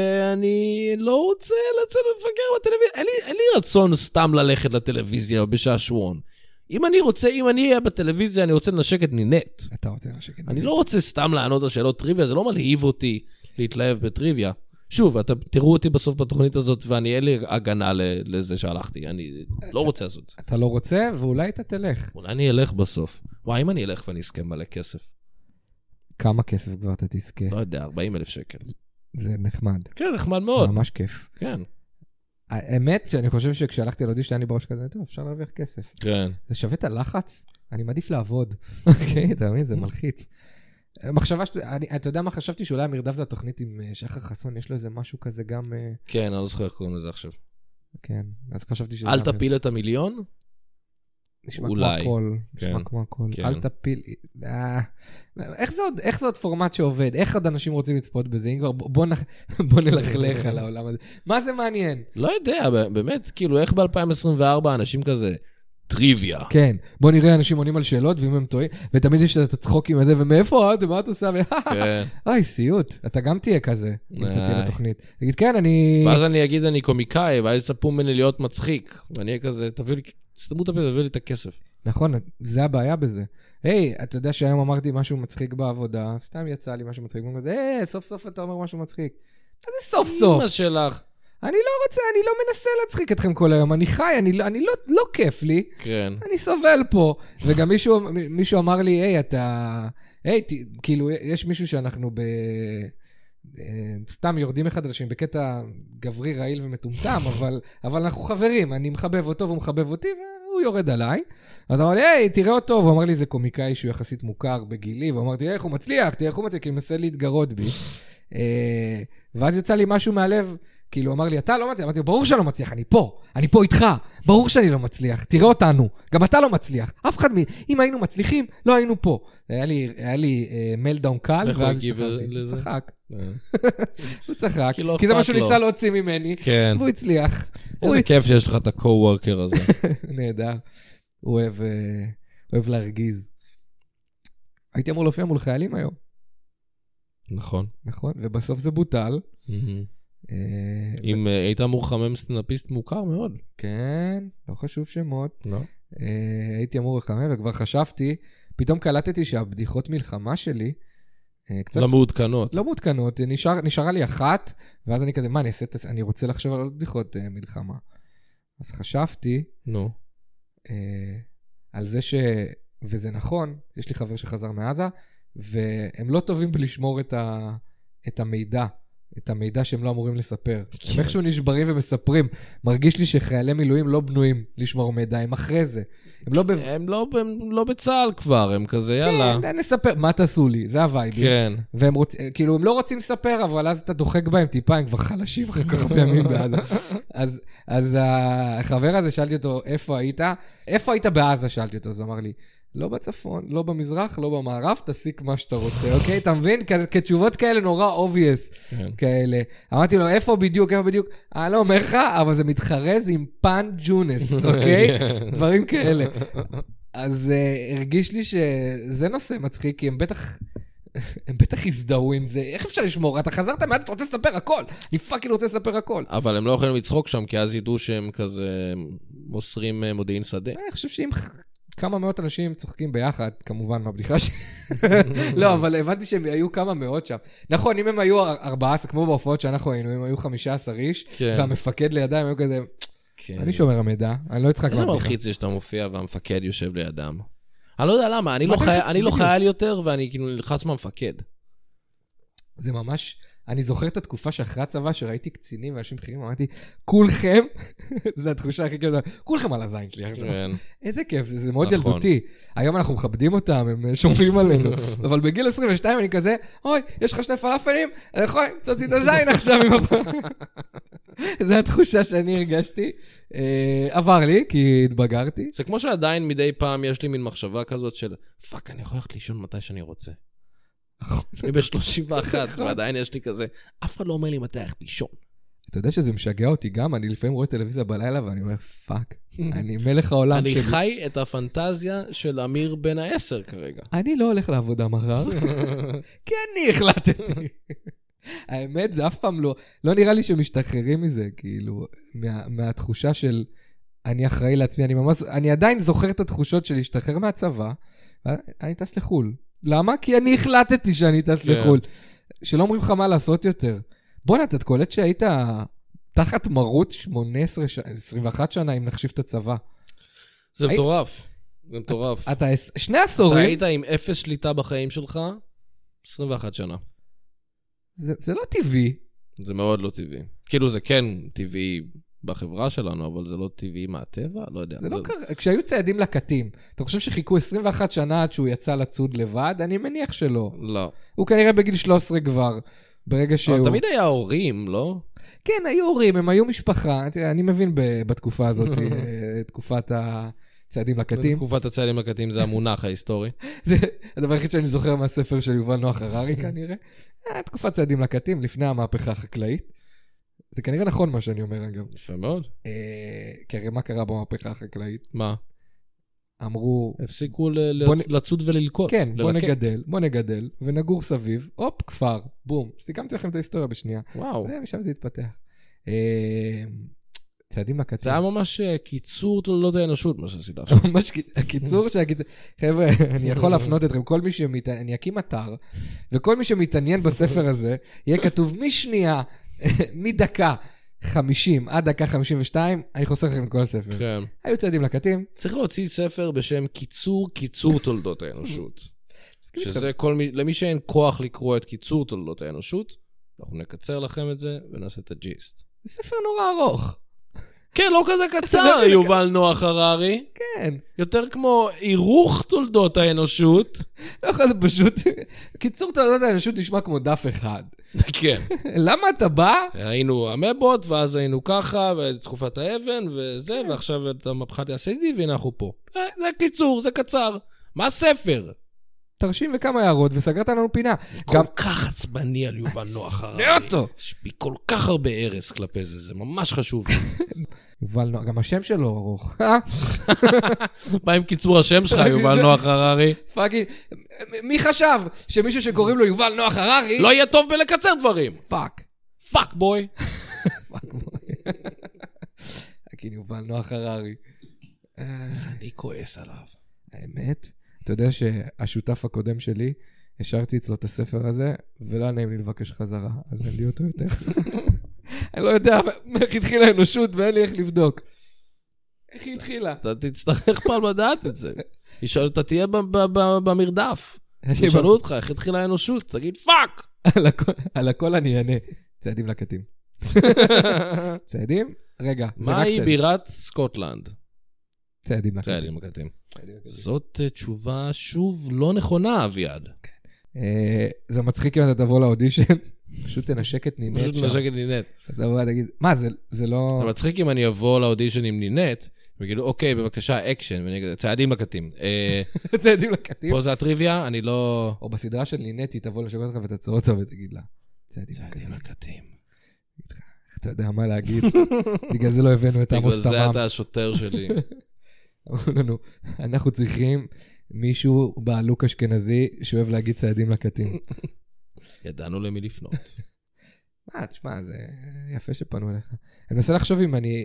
Speaker 2: ואני לא רוצה לצאת ולפגר בטלוויזיה. אין לי, אין לי רצון סתם ללכת לטלוויזיה בשעשועון. אם אני רוצה, אם אני אהיה בטלוויזיה, אני רוצה לנשק את נינט.
Speaker 3: אתה רוצה להשקיע.
Speaker 2: אני לא רוצה סתם לענות על שאלות טריוויה, זה לא מלהיב אותי להתלהב בטריוויה. שוב, אתם תראו אותי בסוף בתוכנית הזאת, ואני אין לי הגנה ל- לזה שהלכתי, אני לא רוצה לעשות את זה.
Speaker 3: אתה לא רוצה, ואולי אתה תלך.
Speaker 2: אולי אני אלך בסוף. וואי, אם אני אלך ואני אזכה מלא כסף,
Speaker 3: כמה כסף כבר אתה תזכה?
Speaker 2: לא יודע, 40 אלף שקל.
Speaker 3: זה נחמד.
Speaker 2: כן, נחמד מאוד,
Speaker 3: ממש כיף.
Speaker 2: כן.
Speaker 3: האמת שאני חושב שכשהלכתי לאודישן, היה לי בראש כזה, טוב, אפשר להרוויח כסף.
Speaker 2: כן.
Speaker 3: זה שווה את הלחץ? אני מעדיף לעבוד. אוקיי, אתה מבין? זה
Speaker 2: Mm.
Speaker 3: מלחיץ. מחשבה ש... אני- אתה יודע מה חשבתי? שאולי המרדף זה התוכנית עם אה, שחר חסון, יש לו איזה משהו כזה גם... אה,
Speaker 2: כן, אני לא זוכר איך קוראים לזה עכשיו.
Speaker 3: כן, אז חשבתי שזה...
Speaker 2: אל
Speaker 3: גם-
Speaker 2: תפיל את המיליון?
Speaker 3: נשמע
Speaker 2: אולי.
Speaker 3: כמו הכל, נשמע
Speaker 2: כן.
Speaker 3: כמו הכל.
Speaker 2: כן.
Speaker 3: אל תפיל... אה, איך זה עוד- איך זה עוד פורמט שעובד? איך עוד אנשים רוצים לצפות בזה? אם כבר, בוא- בוא נח- בוא נלכלך על העולם הזה. מה זה מעניין?
Speaker 2: לא יודע, ב- באמת, כאילו, איך ב-2024 אנשים כזה, טריוויה.
Speaker 3: כן, בוא נראה אנשים עונים על שאלות, ואם הם טועים, ותמיד יש את הצחוקים הזה, ומאיפה את, ומה את עושה, ו...
Speaker 2: כן.
Speaker 3: אוי, סיוט, אתה גם תהיה כזה, אם אתה תהיה
Speaker 2: איי.
Speaker 3: בתוכנית. תגיד, כן, אני...
Speaker 2: ואז אני אגיד, אני קומיקאי, ואז יצפו ממני להיות מצחיק. ואני אהיה כזה, תביאו לי, תסתמו את הפה, תביאו לי את הכסף.
Speaker 3: נכון, זה הבעיה בזה. היי, אתה יודע שהיום אמרתי משהו מצחיק בעבודה, סתם יצא לי משהו מצחיק, ואומרים כזה, היי, סוף סוף אתה אומר משהו מצחיק. מה זה סוף סוף?
Speaker 2: אמא שלך.
Speaker 3: אני לא רוצה, אני לא מנסה להצחיק אתכם כל היום, אני חי, אני לא- אני לא- לא כיף לי.
Speaker 2: כן.
Speaker 3: אני סובל פה. וגם מישהו, מישהו אמר לי, היי, אתה... היי, ת... כאילו, יש מישהו שאנחנו ב... אה, סתם יורדים אחד על השני בקטע גברי רעיל ומטומטם, אבל, אבל אנחנו חברים, אני מחבב אותו והוא מחבב אותי והוא יורד עליי. אז אמר לי, היי, תראה אותו, והוא אמר לי, זה קומיקאי שהוא יחסית מוכר בגילי, ואמרתי, "אה, איך הוא מצליח, תראה איך הוא מצליח, כי הוא מנסה להתגרות בי. אה, ואז יצא לי משהו מהלב, כאילו, אמר לי, אתה לא מצליח? אמרתי לו, ברור שאני לא מצליח, אני פה, אני פה איתך, ברור שאני לא מצליח, תראה אותנו, גם אתה לא מצליח, אף אחד מ... אם היינו מצליחים, לא היינו פה. היה לי, היה לי אה, מלדאון קל,
Speaker 2: איך הוא
Speaker 3: ואז
Speaker 2: הגיב
Speaker 3: השתחררתי.
Speaker 2: לזה?
Speaker 3: צחק,
Speaker 2: אה,
Speaker 3: הוא צחק,
Speaker 2: כי לא
Speaker 3: כי זה מה
Speaker 2: אכפת
Speaker 3: שהוא
Speaker 2: לו.
Speaker 3: ניסה להוציא ממני,
Speaker 2: כן.
Speaker 3: והוא הצליח. הוא
Speaker 2: איזה כיף שיש לך את ה-co-worker הזה.
Speaker 3: נהדר. הוא אוהב, אה, אוהב להרגיז. הייתי אמור להופיע מול חיילים היום,
Speaker 2: נכון.
Speaker 3: נכון? ובסוף זה בוטל. אה,
Speaker 2: אם אה, היית אמור לחמם סטנדאפיסט מוכר מאוד.
Speaker 3: כן, לא חשוב שמות.
Speaker 2: לא.
Speaker 3: אה, הייתי אמור לחמם וכבר חשבתי, פתאום קלטתי שהבדיחות מלחמה שלי, אה, קצת
Speaker 2: לא מעודכנות.
Speaker 3: לא מעודכנות, נשאר, נשארה לי אחת, ואז אני כזה, מה, אני, אעשה, את הס- אני רוצה לחשוב על עוד בדיחות אה, מלחמה. אז חשבתי
Speaker 2: נו.
Speaker 3: אה, על זה ש... וזה נכון, יש לי חבר שחזר מעזה, והם לא טובים בלשמור את, ה... את המידע, את המידע שהם לא אמורים לספר. הם איכשהו נשברים ומספרים. מרגיש לי שחיילי מילואים לא בנויים לשמור מידע, הם אחרי זה. הם לא ב...
Speaker 2: הם לא, הם לא בצה"ל כבר, הם כזה, יאללה.
Speaker 3: כן, נספר, מה תעשו לי? זה הווייבים.
Speaker 2: כן.
Speaker 3: והם רוצים, כאילו, הם לא רוצים לספר, אבל אז אתה דוחק בהם טיפה, הם כבר חלשים אחרי כל כך הרבה ימים בעזה. אז, אז החבר הזה, שאלתי אותו, איפה היית? איפה היית בעזה? שאלתי אותו, אז הוא אמר לי, לא בצפון, לא במזרח, לא במערב, תסיק מה שאתה רוצה, אוקיי? אתה מבין? כזה- כתשובות כאלה נורא obvious
Speaker 2: כן.
Speaker 3: כאלה. אמרתי לו, איפה בדיוק, איפה בדיוק? אני לא אומר לך, אבל זה מתחרז עם פאן ג'ונס, אוקיי? דברים כאלה. אז uh, הרגיש לי שזה נושא מצחיק, כי הם בטח... הם בטח הזדהו עם זה, איך אפשר לשמור? אתה חזרת מעט, אתה רוצה לספר הכל! אני פאקינג רוצה לספר הכל!
Speaker 2: אבל הם לא יכולים לצחוק שם, כי אז ידעו שהם כזה מוסרים אה, מודיעין שדה.
Speaker 3: אני חושב שאם ח- כמה מאות אנשים צוחקים ביחד, כמובן מהבדיחה ש... לא, אבל הבנתי שהם היו כמה מאות שם. נכון, אם הם היו אר- 14, כמו בהופעות שאנחנו היינו, אם היו 15 איש,
Speaker 2: כן.
Speaker 3: והמפקד לידיים היו כזה,
Speaker 2: כן.
Speaker 3: אני שומר המידע, אני לא אצחק
Speaker 2: איזה
Speaker 3: מהבדיחה."
Speaker 2: מלחיץ זה שאתה מופיע והמפקד יושב לידם. אני לא יודע למה, אני,
Speaker 3: מה
Speaker 2: לא,
Speaker 3: אתה
Speaker 2: חי...
Speaker 3: חושב?
Speaker 2: אני לא
Speaker 3: בדיוק.
Speaker 2: חייל יותר, ואני כאילו נלחץ מהמפקד.
Speaker 3: זה ממש... אני זוכר את התקופה שאחרי הצבא, שראיתי קצינים ואנשים בכירים, אמרתי, כולכם, זו התחושה הכי גדולה, כולכם על הזין שלי עכשיו.
Speaker 2: כן.
Speaker 3: איזה כיף, זה, זה מאוד
Speaker 2: נכון.
Speaker 3: ילדותי. היום אנחנו מכבדים אותם, הם אה, שומרים עלינו. אבל בגיל 22 אני כזה, אוי, יש לך שני פלאפלים? אני יכול למצוא את הזין עכשיו עם הפ... זו התחושה שאני הרגשתי. אה, עבר לי, כי התבגרתי.
Speaker 2: זה כמו שעדיין מדי פעם יש לי מין מחשבה כזאת של, פאק, אני יכול ללכת לישון מתי שאני רוצה. אני בן 31,
Speaker 3: נכון.
Speaker 2: ועדיין יש לי כזה, אף אחד לא אומר לי מתי ללכת לישון.
Speaker 3: אתה יודע שזה משגע אותי גם, אני לפעמים רואה טלוויזיה בלילה ואני אומר, פאק, אני מלך העולם
Speaker 2: אני
Speaker 3: שלי.
Speaker 2: חי את הפנטזיה של אמיר בן העשר כרגע.
Speaker 3: אני לא הולך לעבודה מחר, כי אני החלטתי. האמת, זה אף פעם לא, לא נראה לי שמשתחררים מזה, כאילו, מה, מהתחושה של אני אחראי לעצמי, אני ממש, אני עדיין זוכר את התחושות של להשתחרר מהצבא, ואני טס לחו"ל. למה? כי אני החלטתי שאני טס
Speaker 2: כן.
Speaker 3: לחו"ל. שלא אומרים לך מה לעשות יותר. בואנה, אתה קולט שהיית תחת מרות 18, ש- 21 שנה, אם נחשיב את הצבא.
Speaker 2: זה
Speaker 3: היי-
Speaker 2: מטורף. זה מטורף.
Speaker 3: אתה עש- שני
Speaker 2: אתה
Speaker 3: עשורים,
Speaker 2: היית עם אפס שליטה בחיים שלך 21 שנה.
Speaker 3: זה, זה לא טבעי.
Speaker 2: זה מאוד לא טבעי. כאילו זה כן טבעי בחברה שלנו, אבל זה לא טבעי מהטבע? לא יודע.
Speaker 3: זה לא קרה, כשהיו צעדים לקטים, אתה חושב שחיכו 21 שנה עד שהוא יצא לצוד לבד? אני מניח שלא.
Speaker 2: לא.
Speaker 3: הוא כנראה בגיל 13 כבר, ברגע שהוא...
Speaker 2: אבל תמיד היה הורים, לא?
Speaker 3: כן, היו הורים, הם היו משפחה. תראה, אני מבין ב- בתקופה הזאת, אה, תקופת הצעדים לקטים.
Speaker 2: בתקופת הצעדים הקטים זה המונח ההיסטורי.
Speaker 3: זה הדבר היחיד שאני זוכר מהספר של יובל נוח הררי כנראה. אה, תקופת צעדים לקטים, לפני המהפכה החקלאית. זה כנראה נכון מה שאני אומר, אגב.
Speaker 2: יפה מאוד.
Speaker 3: אה, כי הרי מה קרה במהפכה החקלאית?
Speaker 2: מה?
Speaker 3: אמרו,
Speaker 2: הפסיקו ל- ל-
Speaker 3: בוא נ-
Speaker 2: לצוד וללקוט.
Speaker 3: כן, בוא
Speaker 2: ללקט.
Speaker 3: נגדל, בוא נגדל, ונגור סביב, הופ, כפר, בום. סיכמתי לכם את ההיסטוריה בשנייה.
Speaker 2: וואו.
Speaker 3: זה, משם זה התפתח. אה, צעדים
Speaker 2: זה
Speaker 3: לקצר.
Speaker 2: היה ממש אה, קיצור תולדות האנושות, מה שעשית עכשיו.
Speaker 3: ממש ק- הקיצור של הקיצור. חבר'ה, אני יכול להפנות אתכם, כל מי שמתעניין, אני אקים אתר, וכל מי שמתעניין בספר הזה, יהיה כתוב משנייה, מדקה 50 עד דקה 52, אני חוסר לכם את כל הספר.
Speaker 2: כן.
Speaker 3: היו צעדים לקטים.
Speaker 2: צריך להוציא ספר בשם קיצור קיצור תולדות האנושות.
Speaker 3: כן.
Speaker 2: שזה כל מי, למי שאין כוח לקרוא את קיצור תולדות האנושות, אנחנו נקצר לכם את זה ונעשה את הג'יסט.
Speaker 3: זה ספר נורא ארוך.
Speaker 2: כן, לא כזה קצר, יובל נוח הררי.
Speaker 3: כן.
Speaker 2: יותר כמו הירוך תולדות האנושות.
Speaker 3: לא יכול, זה פשוט... קיצור תולדות האנושות נשמע כמו דף אחד.
Speaker 2: כן.
Speaker 3: למה אתה בא?
Speaker 2: היינו המבות, ואז היינו ככה, ותקופת האבן, וזה, ועכשיו את המהפכת הסיידי, והנה אנחנו פה. אה, זה קיצור, זה קצר. מה ספר?
Speaker 3: תרשים וכמה הערות, וסגרת לנו פינה.
Speaker 2: כל
Speaker 3: גם...
Speaker 2: כך עצבני על יובל נוח הררי.
Speaker 3: שונא אותו.
Speaker 2: יש בי כל כך הרבה הרס כלפי זה, זה ממש חשוב.
Speaker 3: יובל נוח, גם השם שלו ארוך. אה?
Speaker 2: מה עם קיצור השם שלך, יובל
Speaker 3: זה-
Speaker 2: נוח הררי?
Speaker 3: פאקינג... מ- מי חשב שמישהו שקוראים לו יובל נוח הררי...
Speaker 2: לא יהיה טוב בלקצר דברים.
Speaker 3: פאק.
Speaker 2: פאק בוי.
Speaker 3: פאק בוי. כאילו יובל נוח הררי.
Speaker 2: אני כועס עליו.
Speaker 3: האמת, אתה יודע שהשותף הקודם שלי, השארתי אצלו את הספר הזה, ולא היה נעים לי לבקש חזרה, אז אין לי אותו יותר. אני לא יודע איך התחילה האנושות ואין לי איך לבדוק. איך היא התחילה?
Speaker 2: אתה תצטרך פעם לדעת את זה. ישאל, אתה תהיה ב- ב- ב- במרדף.
Speaker 3: אין לי
Speaker 2: ישאלו אותך, איך התחילה האנושות? תגיד פאק!
Speaker 3: על הכל- על הכל אני אענה. צעדים לקטים. צעדים? רגע, זה רק
Speaker 2: מהי
Speaker 3: צעדים.
Speaker 2: בירת סקוטלנד?
Speaker 3: צעדים לקטים.
Speaker 2: צעדים הקטים.
Speaker 3: צעדים לקטים.
Speaker 2: זאת אה, תשובה שוב לא נכונה, אביעד.
Speaker 3: אה, זה מצחיק אם אתה תבוא לאודישן, פשוט תנשק את נינת
Speaker 2: פשוט
Speaker 3: שם.
Speaker 2: נשק את נינט.
Speaker 3: תבוא ותגיד, מה, זה- זה לא...
Speaker 2: זה מצחיק אם אני אבוא לאודישן עם נינט, ויגידו, אוקיי, בבקשה, אקשן, ואני אגיד, צעדים לקטים. אה,
Speaker 3: צעדים לקטים?
Speaker 2: פה זה הטריוויה, אני לא...
Speaker 3: או בסדרה של נינט, היא תבוא לשגע אותך ותעצור אותה ותגיד לה, צעדים לקטים.
Speaker 2: לקטים.
Speaker 3: איך אתה יודע מה להגיד? בגלל זה לא הבאנו את
Speaker 2: בגלל
Speaker 3: עמוס
Speaker 2: זה
Speaker 3: תמם.
Speaker 2: אתה השוטר שלי.
Speaker 3: אמרו לנו, אנחנו צריכים מישהו בעלוק אשכנזי שאוהב להגיד צעדים לקטים.
Speaker 2: ידענו למי לפנות.
Speaker 3: מה, תשמע, זה יפה שפנו אליך. אני מנסה לחשוב אם אני...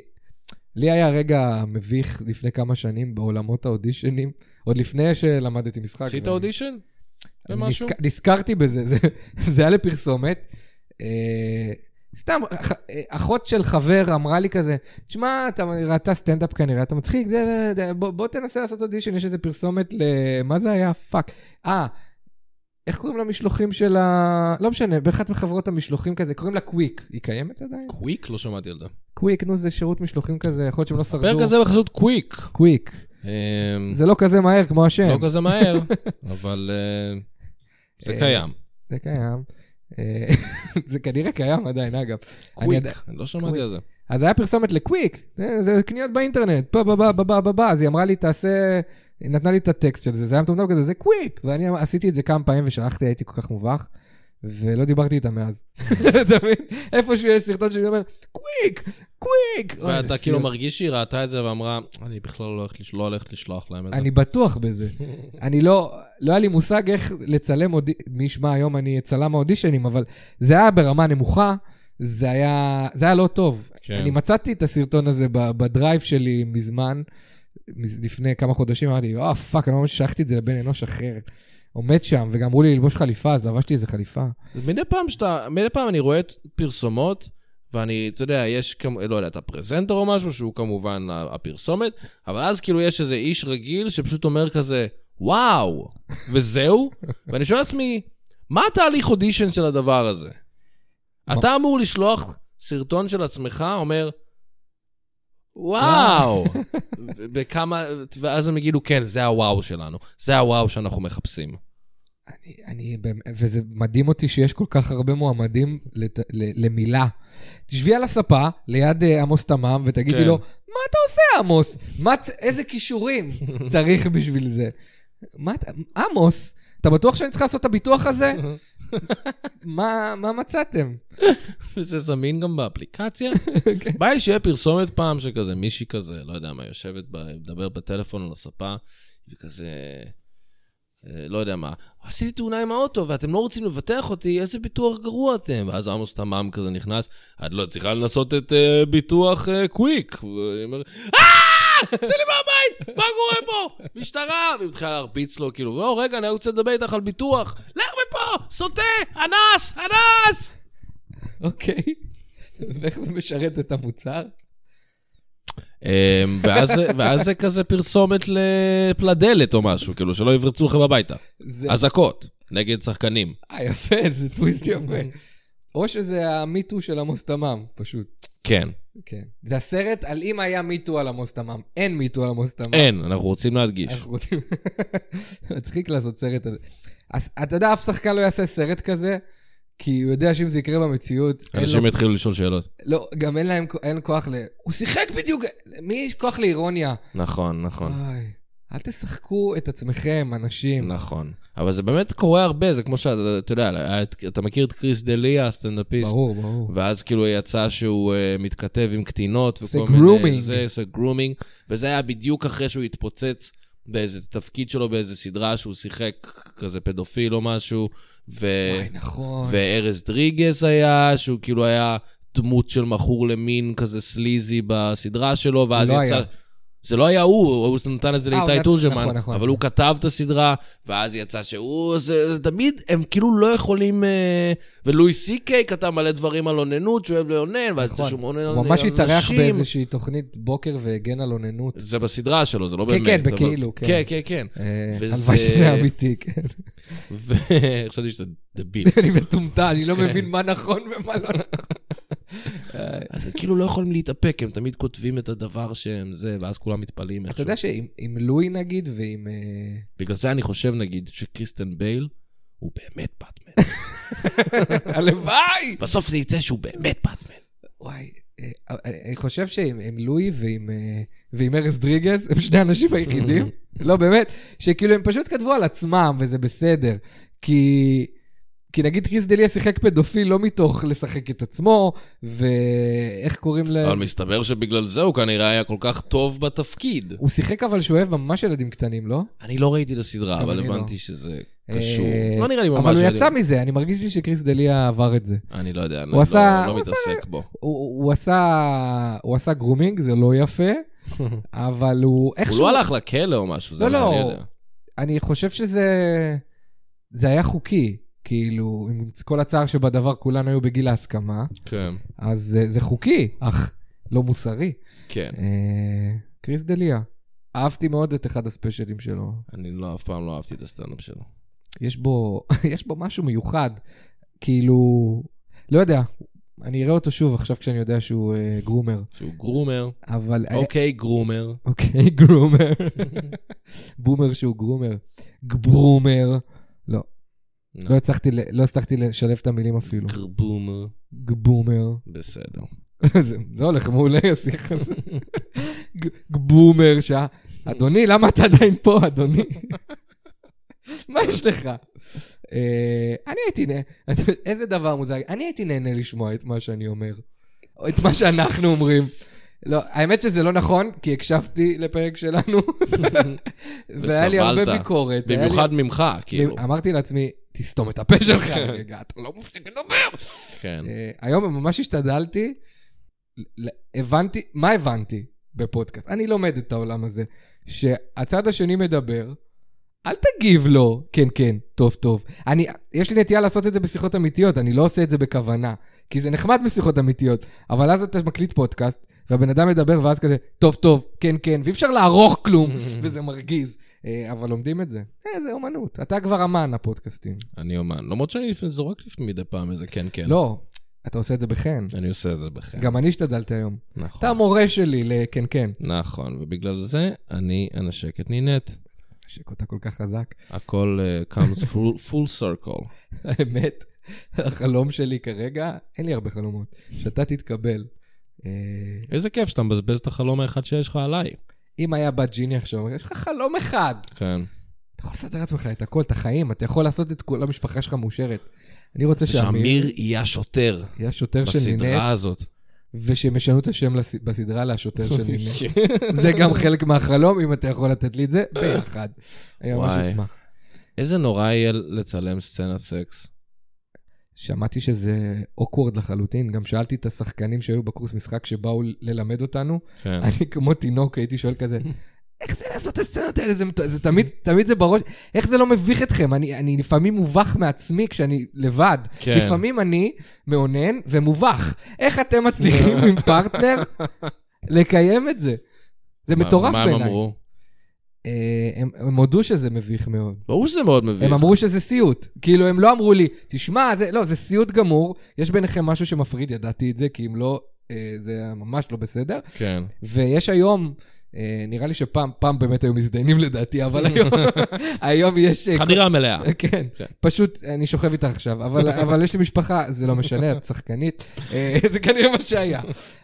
Speaker 3: לי היה רגע מביך לפני כמה שנים בעולמות האודישנים, עוד לפני שלמדתי משחק.
Speaker 2: עשית
Speaker 3: ואני-
Speaker 2: אודישן?
Speaker 3: אני
Speaker 2: למשהו?
Speaker 3: נזכ- נזכרתי בזה, זה, זה היה לפרסומת. אה, סתם, אח- אה, אחות של חבר אמרה לי כזה, תשמע, אתה ראתה סטנדאפ כנראה, אתה מצחיק, זה- זה- זה- בוא, בוא תנסה לעשות אודישן, יש איזה פרסומת ל... מה זה היה? פאק. אה, איך קוראים למשלוחים של ה... לא משנה, באחת מחברות המשלוחים כזה, קוראים לה קוויק. היא קיימת עדיין?
Speaker 2: קוויק? לא שמעתי על זה.
Speaker 3: קוויק, נו, זה שירות משלוחים כזה, יכול להיות שהם לא שרדו.
Speaker 2: הפרק הזה בחסות קוויק.
Speaker 3: קוויק.
Speaker 2: אה,
Speaker 3: זה לא כזה מהר כמו השם.
Speaker 2: לא כזה מהר, אבל אה, זה
Speaker 3: אה,
Speaker 2: קיים.
Speaker 3: זה קיים. אה, זה כנראה קיים עדיין, אגב. אני
Speaker 2: קוויק,
Speaker 3: יודע-
Speaker 2: אני לא שמעתי
Speaker 3: קוויק.
Speaker 2: על זה.
Speaker 3: אז היה פרסומת לקוויק, זה, זה קניות באינטרנט, פה, פה, פה, פה, פה, פה, פה, אז היא אמרה לי, תעשה, היא נתנה לי את הטקסט של זה, זה היה מטומטם כזה, זה קוויק, ואני אמ- עשיתי את זה כמה פעמים ושלחתי, הייתי כל כך מובך, ולא דיברתי איתה מאז. אתה מבין? איפשהו יש סרטון שאני אומר, קוויק, קוויק. אוי, איזה
Speaker 2: ואתה כאילו
Speaker 3: סיוט.
Speaker 2: מרגיש שהיא ראתה את זה ואמרה, אני בכלל לא הולכת לש- לא הולכת לשלוח להם את זה.
Speaker 3: אני בטוח בזה. אני לא, לא היה לי מושג איך לצלם אודי... מי ישמע, היום אני צלם האודישנים, אבל זה היה ברמה נמוכה, זה היה, זה היה לא טוב.
Speaker 2: כן.
Speaker 3: אני מצאתי את הסרטון הזה ב- בדרייב שלי מזמן, מז- לפני כמה חודשים, אמרתי, אה, פאק, אני ממש שלחתי את זה לבן אנוש אחר. עומד שם, וגם אמרו לי ללבוש חליפה, אז לבשתי איזה חליפה.
Speaker 2: מדי פעם שאתה, מדי פעם אני רואה את פרסומות, ואני, אתה יודע, יש כמו, לא יודע, אתה פרזנטור או משהו, שהוא כמובן הפרסומת, אבל אז כאילו יש איזה איש רגיל שפשוט אומר כזה, וואו, וזהו? ואני שואל לעצמי, מה התהליך אודישן של הדבר הזה? אתה אמור לשלוח סרטון של עצמך, אומר, וואו, ו- וכמה, ואז הם יגידו, כן, זה הוואו שלנו, זה הוואו שאנחנו מחפשים.
Speaker 3: אני, אני, באמת- וזה מדהים אותי שיש כל כך הרבה מועמדים לת, ל, למילה. תשבי על הספה ליד אה, עמוס תמם ותגידי
Speaker 2: כן.
Speaker 3: לו, מה אתה עושה, עמוס? מה, צ- איזה כישורים צריך בשביל זה? מה אתה, עמוס, אתה בטוח שאני צריך לעשות את הביטוח הזה? מה, מה מצאתם?
Speaker 2: וזה זמין גם באפליקציה. בא לי שיהיה פרסומת פעם שכזה, מישהי כזה, לא יודע מה, יושבת, ב- מדברת בטלפון על הספה, וכזה, אה, לא יודע מה, עשיתי תאונה עם האוטו ואתם לא רוצים לבטח אותי, איזה ביטוח גרוע אתם. ואז עמוס תמם כזה נכנס, את לא צריכה לנסות את אה, ביטוח אה, קוויק. והיא אומרת, "אה! צא לי מהבית, מה קורה פה? משטרה! והיא מתחילה להרביץ לו, כאילו, לא, רגע, אני רוצה לדבר איתך על ביטוח. לך מפה, סוטה, אנס, אנס!
Speaker 3: אוקיי. ואיך זה משרת את המוצר?
Speaker 2: אמ, ואז, זה- ואז זה כזה פרסומת לפלדלת או משהו, כאילו, שלא יברצו לך הביתה.
Speaker 3: זה
Speaker 2: אזעקות נגד שחקנים.
Speaker 3: אה, יפה, זה טוויסט יפה. או שזה המיטו של עמוס תמם, פשוט.
Speaker 2: כן.
Speaker 3: כן. זה הסרט על אם היה מיטו על עמוס תמם. אין מיטו על עמוס תמם.
Speaker 2: אין, אנחנו רוצים להדגיש.
Speaker 3: אנחנו רוצים... מצחיק לעשות סרט על זה. אז אתה יודע, אף שחקן לא יעשה סרט כזה, כי הוא יודע שאם זה יקרה במציאות, אין לו...
Speaker 2: אנשים יתחילו לשאול שאלות.
Speaker 3: לא, גם אין להם אין כוח ל... הוא שיחק בדיוק... מי יש כוח לאירוניה?
Speaker 2: נכון, נכון.
Speaker 3: אוי, אל תשחקו את עצמכם, אנשים.
Speaker 2: נכון. אבל זה באמת קורה הרבה, זה כמו שאתה אתה יודע, היה את- אתה מכיר את קריס דליה, הסטנדאפיסט.
Speaker 3: ברור, ברור.
Speaker 2: ואז כאילו יצא שהוא uh, מתכתב עם קטינות וכל
Speaker 3: זה
Speaker 2: מיני...
Speaker 3: grooming.
Speaker 2: זה, זה גרומינג. וזה היה בדיוק אחרי שהוא התפוצץ באיזה תפקיד שלו, באיזה סדרה שהוא שיחק כזה פדופיל או משהו, ו...
Speaker 3: וואי, נכון.
Speaker 2: וארז דריגס היה, שהוא כאילו היה דמות של מכור למין כזה סליזי בסדרה שלו, ואז
Speaker 3: לא
Speaker 2: יצא...
Speaker 3: היה.
Speaker 2: זה לא היה הוא, הוא נתן את זה
Speaker 3: אה, הוא
Speaker 2: לאיתי
Speaker 3: נת-
Speaker 2: תורג'מן,
Speaker 3: נכון, נכון.
Speaker 2: אבל הוא כתב את הסדרה, ואז יצא שהוא... זה תמיד, הם כאילו לא יכולים... אה, ולואי סי קיי כתב מלא דברים על אוננות, שהוא אוהב לאונן, ואז יצא
Speaker 3: נכון.
Speaker 2: שהוא מאונן על
Speaker 3: הוא
Speaker 2: על
Speaker 3: ממש
Speaker 2: נשים.
Speaker 3: התארח באיזושהי תוכנית בוקר והגן על אוננות.
Speaker 2: זה בסדרה שלו, זה לא
Speaker 3: כן,
Speaker 2: באמת.
Speaker 3: כן,
Speaker 2: אבל-
Speaker 3: בכאילו, כן.
Speaker 2: כן, כן, כן.
Speaker 3: אה,
Speaker 2: וזה-
Speaker 3: הלוואי שזה אמיתי, כן.
Speaker 2: וחשבתי שאתה דביל.
Speaker 3: אני מטומטם, אני
Speaker 2: כן.
Speaker 3: לא מבין מה נכון ומה לא נכון.
Speaker 2: אז הם כאילו לא יכולים להתאפק, הם תמיד כותבים את הדבר שהם זה, ואז כולם מתפלאים
Speaker 3: אתה
Speaker 2: איכשהו.
Speaker 3: יודע שעם עם לואי נגיד, ועם... אה,
Speaker 2: בגלל זה אני חושב, נגיד, שקריסטן בייל הוא באמת באטמן.
Speaker 3: הלוואי!
Speaker 2: בסוף זה יצא שהוא באמת באטמן.
Speaker 3: וואי, אה, אני חושב שעם עם לואי ועם, אה, ועם ארז דריגז, הם שני האנשים היחידים, לא באמת, שכאילו הם פשוט כתבו על עצמם, וזה בסדר. כי... כי נגיד קריס דליה שיחק פדופיל לא מתוך לשחק את עצמו, ואיך קוראים ל...
Speaker 2: אבל מסתבר שבגלל זה הוא כנראה היה כל כך טוב בתפקיד.
Speaker 3: הוא שיחק אבל שהוא אוהב ממש ילדים קטנים, לא?
Speaker 2: אני לא ראיתי את הסדרה,
Speaker 3: גם
Speaker 2: אבל
Speaker 3: אני לא.
Speaker 2: הבנתי שזה קשור.
Speaker 3: אה,
Speaker 2: לא נראה לי ממש...
Speaker 3: אבל הוא
Speaker 2: שאני-
Speaker 3: יצא מזה, אני מרגיש לי שקריס דליה עבר את זה.
Speaker 2: אני לא יודע, אני
Speaker 3: הוא
Speaker 2: לא-
Speaker 3: עשה-
Speaker 2: לא
Speaker 3: הוא עשה-
Speaker 2: מתעסק בו.
Speaker 3: הוא, הוא, עשה, הוא עשה גרומינג, זה לא יפה, אבל הוא
Speaker 2: הוא
Speaker 3: איכשהו...
Speaker 2: לא הלך לכלא או משהו, זה
Speaker 3: לא,
Speaker 2: מה שאני
Speaker 3: לא.
Speaker 2: יודע.
Speaker 3: אני חושב שזה... זה היה חוקי, כאילו, עם כל הצער שבדבר כולנו היו בגיל ההסכמה,
Speaker 2: כן,
Speaker 3: אז זה, זה חוקי, אך לא מוסרי.
Speaker 2: כן.
Speaker 3: אה, קריס דליה, אהבתי מאוד את אחד הספיישלים שלו.
Speaker 2: אני לא, אף פעם לא אהבתי את הסטנדאפ שלו.
Speaker 3: יש בו, יש בו משהו מיוחד. כאילו, לא יודע, אני אראה אותו שוב עכשיו כשאני יודע שהוא אה, גרומר,
Speaker 2: שהוא גרומר,
Speaker 3: אבל... אה,
Speaker 2: אוקיי, גרומר.
Speaker 3: אוקיי, גרומר. בומר שהוא גרומר. גברומר. לא הצלחתי, ל- לא הצלחתי לשלב את המילים אפילו.
Speaker 2: גרבומר,
Speaker 3: גבומר.
Speaker 2: בסדר.
Speaker 3: אה, זה זה הולך מעולה, השיח הזה. ג- גבומר, שה... אדוני, למה אתה עדיין פה, אדוני? מה יש לך? אה, אני הייתי נהנה, איזה דבר מוזר, אני הייתי נהנה לשמוע את מה שאני אומר, או את מה שאנחנו אומרים. לא, האמת שזה לא נכון, כי הקשבתי לפרק שלנו, והיה לי הרבה
Speaker 2: וסבלת.
Speaker 3: ביקורת. היה לי-
Speaker 2: במיוחד ממך,
Speaker 3: אה,
Speaker 2: כאילו.
Speaker 3: אמרתי לעצמי, תסתום את הפה שלך רגע, אתה לא מפסיק לדבר.
Speaker 2: כן.
Speaker 3: אה, היום ממש השתדלתי, ל- הבנתי, מה הבנתי בפודקאסט? אני לומד את העולם הזה, שהצד השני מדבר, אל תגיב לו, כן, כן, טוב, טוב. אני, יש לי נטייה לעשות את זה בשיחות אמיתיות, אני לא עושה את זה בכוונה, כי זה נחמד בשיחות אמיתיות, אבל אז אתה מקליט פודקאסט, והבן אדם מדבר, ואז כזה, טוב, טוב, כן, כן, ואי אפשר לערוך כלום, וזה מרגיז. אה, אבל לומדים את זה. אה, זה אומנות. אתה כבר אמן הפודקאסטים.
Speaker 2: אני אומן. למרות שאני לפ- זורק לפ- מדי פעם איזה כן, כן.
Speaker 3: לא, אתה עושה את זה בחן.
Speaker 2: אני עושה את זה בחן.
Speaker 3: גם אני השתדלתי היום. אתה
Speaker 2: נכון.
Speaker 3: המורה שלי לקנקן.
Speaker 2: נכון, ובגלל זה אני אנשק את נינט.
Speaker 3: נשק אותה כל כך חזק.
Speaker 2: הכל אה, comes full- full circle.
Speaker 3: האמת, החלום שלי כרגע, אין לי הרבה חלומות, שאתה תתקבל. אה,
Speaker 2: איזה כיף שאתה מבזבז את החלום האחד שיש לך עליי.
Speaker 3: אם היה בת ג'יני עכשיו, אומר, יש לך חלום אחד.
Speaker 2: כן.
Speaker 3: אתה יכול לסדר לעצמך את הכל, את החיים, אתה יכול לעשות את כל המשפחה שלך מאושרת. אני רוצה
Speaker 2: שאמיר
Speaker 3: שאמיר
Speaker 2: יהיה השוטר
Speaker 3: יהיה שוטר של
Speaker 2: בסדרה
Speaker 3: נינט,
Speaker 2: הזאת.
Speaker 3: ושהם ישנו את השם לס- בסדרה לשוטר של נינט. זה גם חלק מהחלום, אם אתה יכול לתת לי את זה, ביחד. אני ממש
Speaker 2: וואי.
Speaker 3: אשמח.
Speaker 2: איזה נורא יהיה לצלם סצנת סקס.
Speaker 3: שמעתי שזה אוקוורד לחלוטין, גם שאלתי את השחקנים שהיו בקורס משחק שבאו ללמד אותנו,
Speaker 2: כן.
Speaker 3: אני כמו תינוק הייתי שואל כזה, איך זה לעשות את הסצנות האלה? זה, מטו- זה תמיד, תמיד זה בראש, איך זה לא מביך אתכם? אני, אני לפעמים מובך מעצמי כשאני לבד.
Speaker 2: כן.
Speaker 3: לפעמים אני מאונן ומובך. איך אתם מצליחים עם פרטנר לקיים את זה? זה
Speaker 2: מה-
Speaker 3: מטורף בעיניי.
Speaker 2: מה הם אמרו?
Speaker 3: אה, הם, הם הודו שזה מביך מאוד.
Speaker 2: ברור שזה מאוד מביך.
Speaker 3: הם אמרו שזה סיוט. כאילו, הם לא אמרו לי, תשמע, זה, לא, זה סיוט גמור, יש ביניכם משהו שמפריד, ידעתי את זה, כי אם לא, אה, זה היה ממש לא בסדר.
Speaker 2: כן.
Speaker 3: ויש היום, אה, נראה לי שפעם, פעם באמת היו מזדיינים לדעתי, אבל היום, היום יש... אה,
Speaker 2: חדירה מלאה.
Speaker 3: כן,
Speaker 2: כן.
Speaker 3: פשוט אני שוכב איתך עכשיו, אבל, אבל יש לי משפחה, זה לא משנה, את שחקנית, אה, זה כנראה מה שהיה.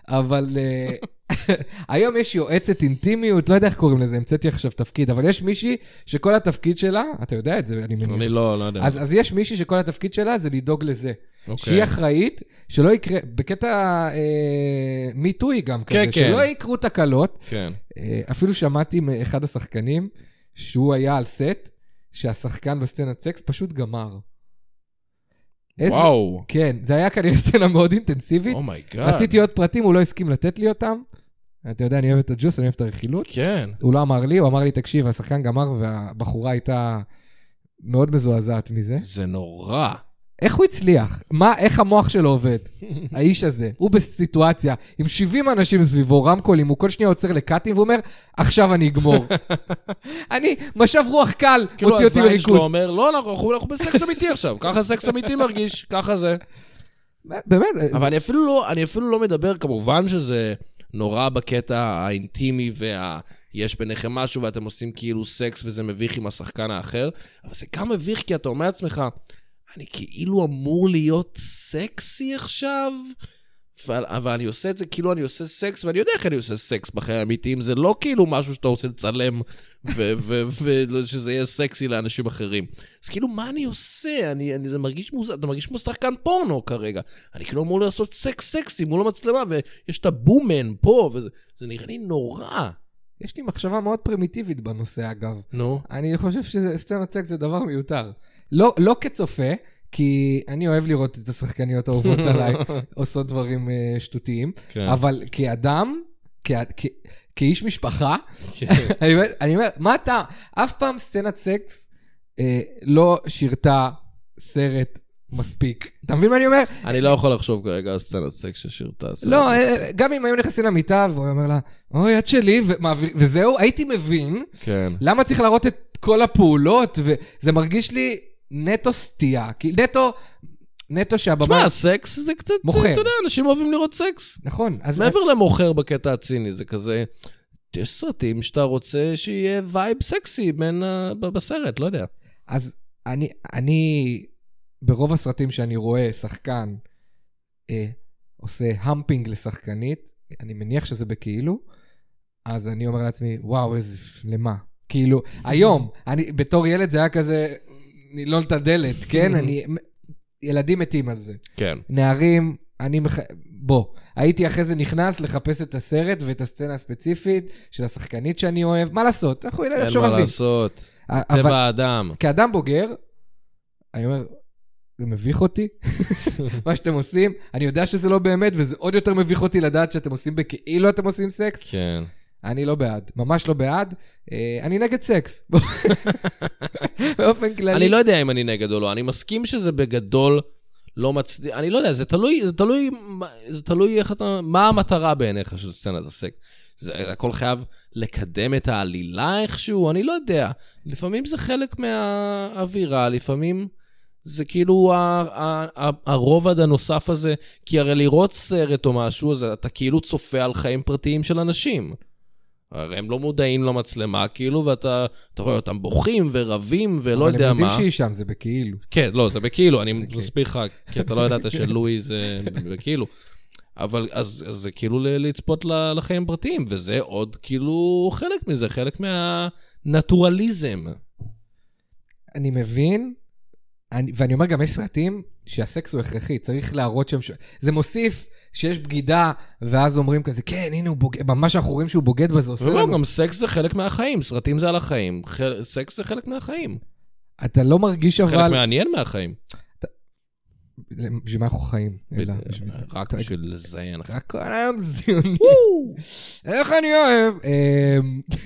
Speaker 3: אבל אה, היום יש יועצת אינטימיות, לא יודע איך קוראים לזה, המצאתי עכשיו תפקיד, אבל יש מישהי שכל התפקיד שלה, אתה יודע את זה, אני מניח.
Speaker 2: אני לא, לא יודע.
Speaker 3: אז, אז יש מישהי שכל התפקיד שלה זה לדאוג לזה.
Speaker 2: אוקיי.
Speaker 3: שהיא אחראית, שלא יקרה, בקטע אה, מיטוי גם כזה,
Speaker 2: כן, כן.
Speaker 3: שלא יקרו תקלות.
Speaker 2: כן.
Speaker 3: אה, אפילו שמעתי מאחד השחקנים, שהוא היה על סט, שהשחקן בסצנת סקס פשוט גמר. איזה-
Speaker 2: וואו, Oh
Speaker 3: כן, זה היה כנראה סצנה מאוד אינטנסיבית.
Speaker 2: אומייגאד.
Speaker 3: רציתי עוד פרטים, הוא לא הסכים לתת לי אותם. אתה יודע, אני אוהב את הג'וס, אני אוהב את הרכילות.
Speaker 2: כן.
Speaker 3: הוא לא אמר לי, הוא אמר לי, תקשיב, השחקן גמר והבחורה הייתה מאוד מזועזעת מזה.
Speaker 2: זה נורא.
Speaker 3: איך הוא הצליח? מה, איך המוח שלו עובד? האיש הזה, הוא בסיטואציה עם 70 אנשים סביבו, רמקולים, הוא כל שנייה עוצר לקאטים ואומר, עכשיו אני אגמור. אני, משב רוח קל,
Speaker 2: כאילו
Speaker 3: הוציא אותי
Speaker 2: הזין שלו
Speaker 3: מריכוז.
Speaker 2: אומר, לא, אנחנו אנחנו בסקס אמיתי עכשיו. ככה סקס אמיתי מרגיש, ככה זה.
Speaker 3: באמת,
Speaker 2: אבל אני אפילו לא, אני אפילו לא מדבר, כמובן שזה נורא בקטע האינטימי וה... יש ביניכם משהו ואתם עושים כאילו סקס וזה מביך עם השחקן האחר, אבל זה גם מביך כי אתה אומר לעצמך, אני כאילו אמור להיות סקסי עכשיו, אבל, אבל אני עושה את זה כאילו אני עושה סקס, ואני יודע איך אני עושה סקס בחיי האמיתיים, זה לא כאילו משהו שאתה רוצה לצלם ושזה יהיה סקסי לאנשים אחרים. אז כאילו, מה אני עושה? אני, אני, זה מרגיש מוזר, אתה מרגיש כמו שחקן פורנו כרגע. אני כאילו אמור לעשות סקס סקסי מול המצלמה, ויש את הבומן פה, וזה זה נראה לי נורא.
Speaker 3: יש לי מחשבה מאוד פרימיטיבית בנושא, אגב.
Speaker 2: נו.
Speaker 3: אני חושב שסצנת סקס זה דבר מיותר. לא, לא כצופה, כי אני אוהב לראות את השחקניות האהובות עליי עושות דברים אה, שטותיים,
Speaker 2: כן.
Speaker 3: אבל כאדם, כ- כ- כאיש משפחה, אני אומר- אני אומר, מה אתה, אף פעם סצנת סקס אה, לא שירתה סרט מספיק. אתה מבין מה אני אומר?
Speaker 2: אני לא יכול לחשוב כרגע על סצנת סקס ששירתה. סרט.
Speaker 3: לא, אה, גם אם היו נכנסים למיטה, והוא אומר לה, אוי, את שלי, ומעביר- וזהו, הייתי מבין.
Speaker 2: כן.
Speaker 3: למה צריך להראות את כל הפעולות? וזה מרגיש לי נטו סטייה. כי נטו, נטו שהבמה...
Speaker 2: שמע, סקס זה קצת,
Speaker 3: מוכר.
Speaker 2: אתה יודע, אנשים אוהבים לראות סקס.
Speaker 3: נכון, אז...
Speaker 2: מעבר למוכר בקטע הציני, זה כזה, יש סרטים שאתה רוצה שיהיה וייב סקסי בין ה... ב- בסרט, לא יודע.
Speaker 3: אז אני, אני, ברוב הסרטים שאני רואה שחקן אה, עושה המפינג לשחקנית, אני מניח שזה בכאילו, אז אני אומר לעצמי, וואו, איזה... למה? כאילו, היום, אני, בתור ילד זה היה כזה, נילול את הדלת, כן? אני... ילדים מתים על זה.
Speaker 2: כן.
Speaker 3: נערים, אני מח... בוא, הייתי אחרי זה נכנס לחפש את הסרט ואת הסצנה הספציפית של השחקנית שאני אוהב, מה לעשות? אנחנו ילדים
Speaker 2: אין מה
Speaker 3: שורבים.
Speaker 2: לעשות.
Speaker 3: אה, אבל
Speaker 2: טבע האדם.
Speaker 3: כאדם בוגר, אני אומר, זה מביך אותי, מה שאתם עושים. אני יודע שזה לא באמת, וזה עוד יותר מביך אותי לדעת שאתם עושים בכאילו אתם עושים סקס.
Speaker 2: כן.
Speaker 3: אני לא בעד, ממש לא בעד. אה, אני נגד סקס. באופן כללי.
Speaker 2: אני לא יודע אם אני נגד או לא, אני מסכים שזה בגדול לא מצדיק, אני לא יודע, זה תלוי, זה תלוי, מה- זה תלוי איך אתה, מה המטרה בעיניך של סצנת הסקס. זה הכל חייב לקדם את העלילה איכשהו, אני לא יודע. לפעמים זה חלק מהאווירה, לפעמים זה כאילו ה- ה- ה- הרובד הנוסף הזה, כי הרי לראות סרט או משהו, אז אתה כאילו צופה על חיים פרטיים של אנשים. הרי הם לא מודעים למצלמה, כאילו, ואתה אתה רואה אותם בוכים ורבים ולא
Speaker 3: אבל
Speaker 2: לא יודע
Speaker 3: הם יודעים
Speaker 2: מה.
Speaker 3: שהיא אוקיי. שם, זה בכאילו.
Speaker 2: כן, לא, זה בכאילו, אני מסביר לך, כי אתה לא ידעת שלואי זה בכאילו. אבל אז, אז זה כאילו ל- לצפות ל- לחיים פרטיים, וזה עוד כאילו חלק מזה, חלק מהנטורליזם.
Speaker 3: אני מבין, אני, ואני אומר גם, יש סרטים שהסקס הוא הכרחי, צריך להראות שם... ש... זה מוסיף שיש בגידה, ואז אומרים כזה, כן, הנה הוא בוגד, ממש אנחנו רואים שהוא בוגד בזה, עושה
Speaker 2: ולא,
Speaker 3: לנו...
Speaker 2: לא, גם סקס זה חלק מהחיים, סרטים זה על החיים, חל... סקס זה חלק מהחיים,
Speaker 3: אתה לא מרגיש
Speaker 2: חלק
Speaker 3: אבל...
Speaker 2: מעניין מהחיים.
Speaker 3: בשביל מה אנחנו חיים? אלא בשביל...
Speaker 2: אה, רק
Speaker 3: אתה-
Speaker 2: בשביל לזיין.
Speaker 3: רק כל היום זיונים. איך אני אוהב? אמ,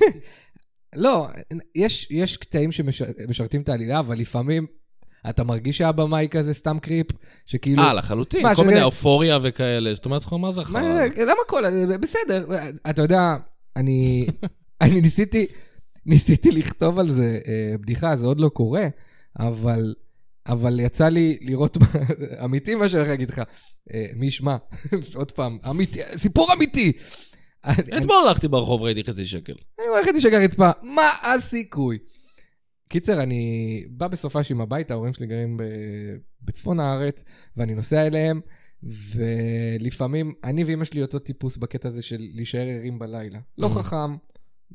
Speaker 3: לא, יש, יש קטעים שמשרתים את העלילה, אבל לפעמים אתה מרגיש שהבמה היא כזה סתם קריפ, שכאילו...
Speaker 2: אה, לחלוטין,
Speaker 3: כאילו, מה,
Speaker 2: כל
Speaker 3: שזה-
Speaker 2: מיני אופוריה וכאלה, זאת אומרת, מה זה
Speaker 3: מה,
Speaker 2: אחריו?
Speaker 3: למה כל... בסדר, אתה יודע, אני, אני ניסיתי, ניסיתי לכתוב על זה אה, בדיחה, זה עוד לא קורה, אבל, אבל יצא לי לראות, מה- אמיתי מה שאני הולך להגיד לך, אה, מי ישמע, עוד פעם, אמיתי, סיפור אמיתי. אני, אני,
Speaker 2: אתמול הלכתי ברחוב, ראיתי חצי שקל.
Speaker 3: אני הולכת לשגר רצפה, מה הסיכוי? קיצר, אני בא בסופ"שים הביתה, ההורים שלי גרים ב... בצפון הארץ, ואני נוסע אליהם, ולפעמים, אני ואימא שלי אותו טיפוס בקטע הזה של להישאר ערים בלילה. לא
Speaker 2: Mm.
Speaker 3: חכם,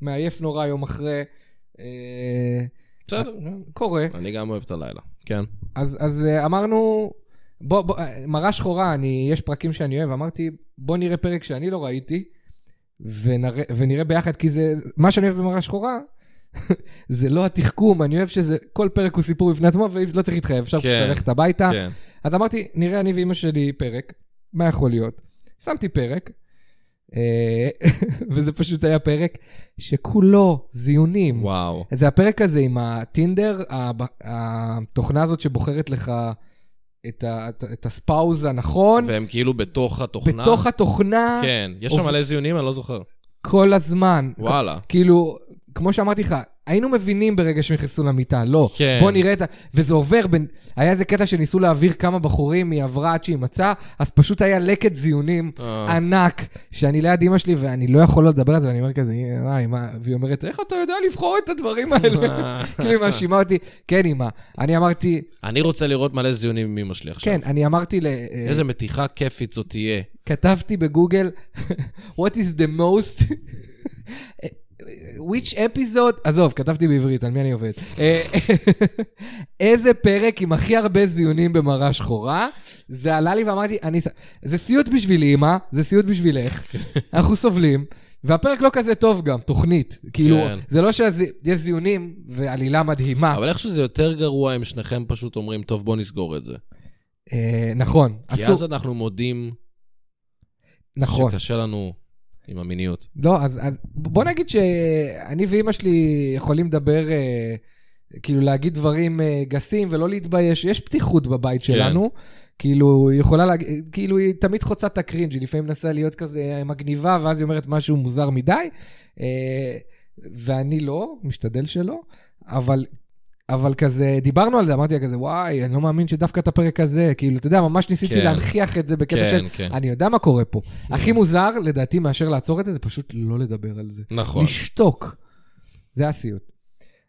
Speaker 3: מעייף נורא יום אחרי, אה,
Speaker 2: בסדר, כן.
Speaker 3: קורה.
Speaker 2: אני גם אוהב את הלילה. כן.
Speaker 3: אז, אז אה, אמרנו, בוא, בוא, אה, מראה שחורה, אני, יש פרקים שאני אוהב, אמרתי, בוא נראה פרק שאני לא ראיתי, ונראה, ונראה ביחד, כי זה, מה שאני אוהב במראה שחורה, זה לא התחכום, אני אוהב שזה, כל פרק הוא סיפור בפני עצמו, ולא צריך להתחייב, אפשר פשוט
Speaker 2: כן.
Speaker 3: ללכת הביתה.
Speaker 2: כן.
Speaker 3: אז אמרתי, נראה אני ואימא שלי פרק, מה יכול להיות? שמתי פרק, אה, וזה פשוט היה פרק שכולו זיונים.
Speaker 2: וואו.
Speaker 3: זה הפרק הזה עם הטינדר, הב- התוכנה הזאת שבוחרת לך את, ה, את, את הספאוז הנכון,
Speaker 2: והם כאילו בתוך התוכנה.
Speaker 3: נכון. בתוך התוכנה
Speaker 2: כן. יש שם
Speaker 3: אוף.
Speaker 2: מלא זיונים, אני לא זוכר.
Speaker 3: כל הזמן.
Speaker 2: וואלה.
Speaker 3: כאילו, כמו שאמרתי לך, היינו מבינים ברגע שנכנסו למיטה, לא.
Speaker 2: כן.
Speaker 3: בוא נראה את ה... וזה עובר בין... היה איזה קטע שניסו להעביר כמה בחורים, היא עברה עד שהיא מצאה, אז פשוט היה לקט זיונים
Speaker 2: אה.
Speaker 3: ענק, שאני ליד אימא שלי, ואני לא יכול לא לדבר על זה, ואני אומר כזה, איי, מה... והיא אומרת, איך אתה יודע לבחור את הדברים האלה? כאילו, היא מאשימה אותי, כן, אימא. אני אמרתי,
Speaker 2: אני רוצה לראות מלא זיונים עם אמא שלי עכשיו.
Speaker 3: כן, אה. אני אמרתי ל...
Speaker 2: איזה מתיחה כיפית זאת תהיה.
Speaker 3: כתבתי בגוגל, what is the most... which episode, עזוב, כתבתי בעברית, על מי אני עובד. אה, איזה פרק עם הכי הרבה זיונים במראה שחורה? זה עלה לי ואמרתי, אני... ס- זה סיוט בשבילי, אמא, זה סיוט בשבילך, אנחנו סובלים. והפרק לא כזה טוב גם, תוכנית. כאילו,
Speaker 2: כן.
Speaker 3: זה לא שיש זיונים ועלילה מדהימה.
Speaker 2: אבל איכשהו זה יותר גרוע אם שניכם פשוט אומרים, טוב, בוא נסגור את זה.
Speaker 3: אה, נכון,
Speaker 2: כי אז
Speaker 3: אסור,
Speaker 2: אנחנו מודים
Speaker 3: נכון.
Speaker 2: שקשה לנו עם המיניות.
Speaker 3: לא, אז, אז בוא נגיד שאני ואימא שלי יכולים לדבר, אה, כאילו להגיד דברים אה, גסים ולא להתבייש. יש פתיחות בבית
Speaker 2: כן.
Speaker 3: שלנו. כאילו, היא יכולה להגיד, כאילו, היא תמיד חוצה את הקרינג', היא לפעמים מנסה להיות כזה אה, מגניבה, ואז היא אומרת משהו מוזר מדי. אה, ואני לא, משתדל שלא, אבל... אבל כזה, דיברנו על זה, אמרתי לה כזה, וואי, אני לא מאמין שדווקא את הפרק הזה, כאילו, אתה יודע, ממש ניסיתי
Speaker 2: כן.
Speaker 3: להנכיח את זה בקטע
Speaker 2: כן,
Speaker 3: של,
Speaker 2: כן.
Speaker 3: אני יודע מה קורה פה. הכי מוזר, לדעתי, מאשר לעצור את זה, זה פשוט לא לדבר על זה.
Speaker 2: נכון.
Speaker 3: לשתוק. זה הסיוט.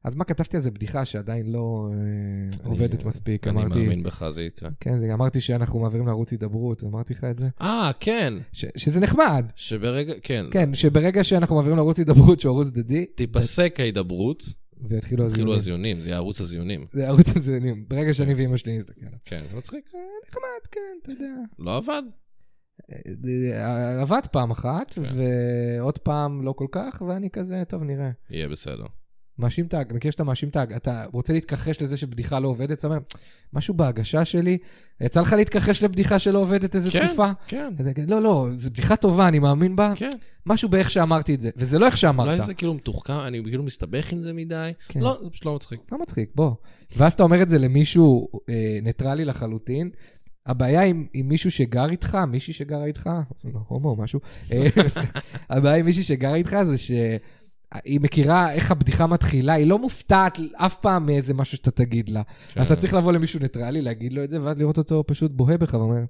Speaker 3: אז מה כתבתי על זה? בדיחה שעדיין לא אה, עובדת מספיק.
Speaker 2: אני
Speaker 3: אמרתי,
Speaker 2: מאמין בך, זה יקרה.
Speaker 3: כן, זה- אמרתי שאנחנו מעבירים לערוץ הידברות, אמרתי לך את זה?
Speaker 2: אה, כן.
Speaker 3: ש- שזה נחמד.
Speaker 2: שברגע, כן.
Speaker 3: כן, שברגע שאנחנו מעבירים לערוץ הידברות, שהוא ערוץ דדי,
Speaker 2: תיפסק ההידברות,
Speaker 3: ויתחילו
Speaker 2: התחילו
Speaker 3: הזיונים.
Speaker 2: הזיונים, זה יהיה ערוץ הזיונים.
Speaker 3: זה ערוץ הזיונים. ברגע שאני ואימא שלי נסתכל עליו.
Speaker 2: כן, זה מצחיק.
Speaker 3: נחמד, כן, אתה יודע.
Speaker 2: לא עבד. כן.
Speaker 3: אה, עבד פעם אחת, ועוד פעם לא כל כך, ואני כזה, טוב, נראה.
Speaker 2: יהיה בסדר.
Speaker 3: מאשים את ההג... מכיר שאתה מאשים את ההג... אתה רוצה להתכחש לזה שבדיחה לא עובדת? אתה אומר, משהו בהגשה שלי, יצא לך להתכחש לבדיחה שלא עובדת איזה
Speaker 2: כן,
Speaker 3: תקופה?
Speaker 2: כן,
Speaker 3: אז אני אגיד, לא, לא, זו בדיחה טובה, אני מאמין בה.
Speaker 2: כן.
Speaker 3: משהו באיך שאמרתי את זה, וזה לא איך שאמרת.
Speaker 2: אולי זה כאילו מתוחכם, אני כאילו מסתבך עם זה מדי.
Speaker 3: כן.
Speaker 2: לא, זה פשוט לא מצחיק.
Speaker 3: לא מצחיק, בוא. ואז אתה אומר את זה למישהו אה, ניטרלי לחלוטין. הבעיה עם, עם מישהו שגר איתך, מישהי שגרה איתך, לא, הומו או משהו, אה, סתם. הבעיה עם מישהי שגרה איתך זה שהיא מכירה איך הבדיחה מתחילה, היא לא מופתעת אף פעם מאיזה משהו שאתה תגיד לה.
Speaker 2: כן.
Speaker 3: אז אתה צריך לבוא למישהו ניטרלי, להגיד לו את זה, ואז לראות אותו פשוט בוהה בך ואומר,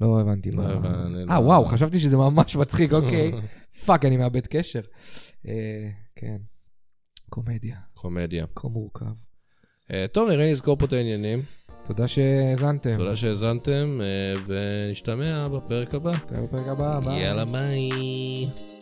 Speaker 3: לא הבנתי
Speaker 2: לא
Speaker 3: מה...
Speaker 2: הבנתי,
Speaker 3: אה,
Speaker 2: לא.
Speaker 3: וואו, חשבתי שזה ממש מצחיק, אוקיי. פאק, אני מאבד קשר. אה, כן. קומדיה,
Speaker 2: קומדיה.
Speaker 3: כה מורכב.
Speaker 2: אה, טוב, נראה לי נזכור פה את העניינים.
Speaker 3: תודה שהאזנתם.
Speaker 2: תודה שהאזנתם, אה, ונשתמע בפרק הבא.
Speaker 3: נתראה בפרק הבא. ביי.
Speaker 2: יאללה ביי.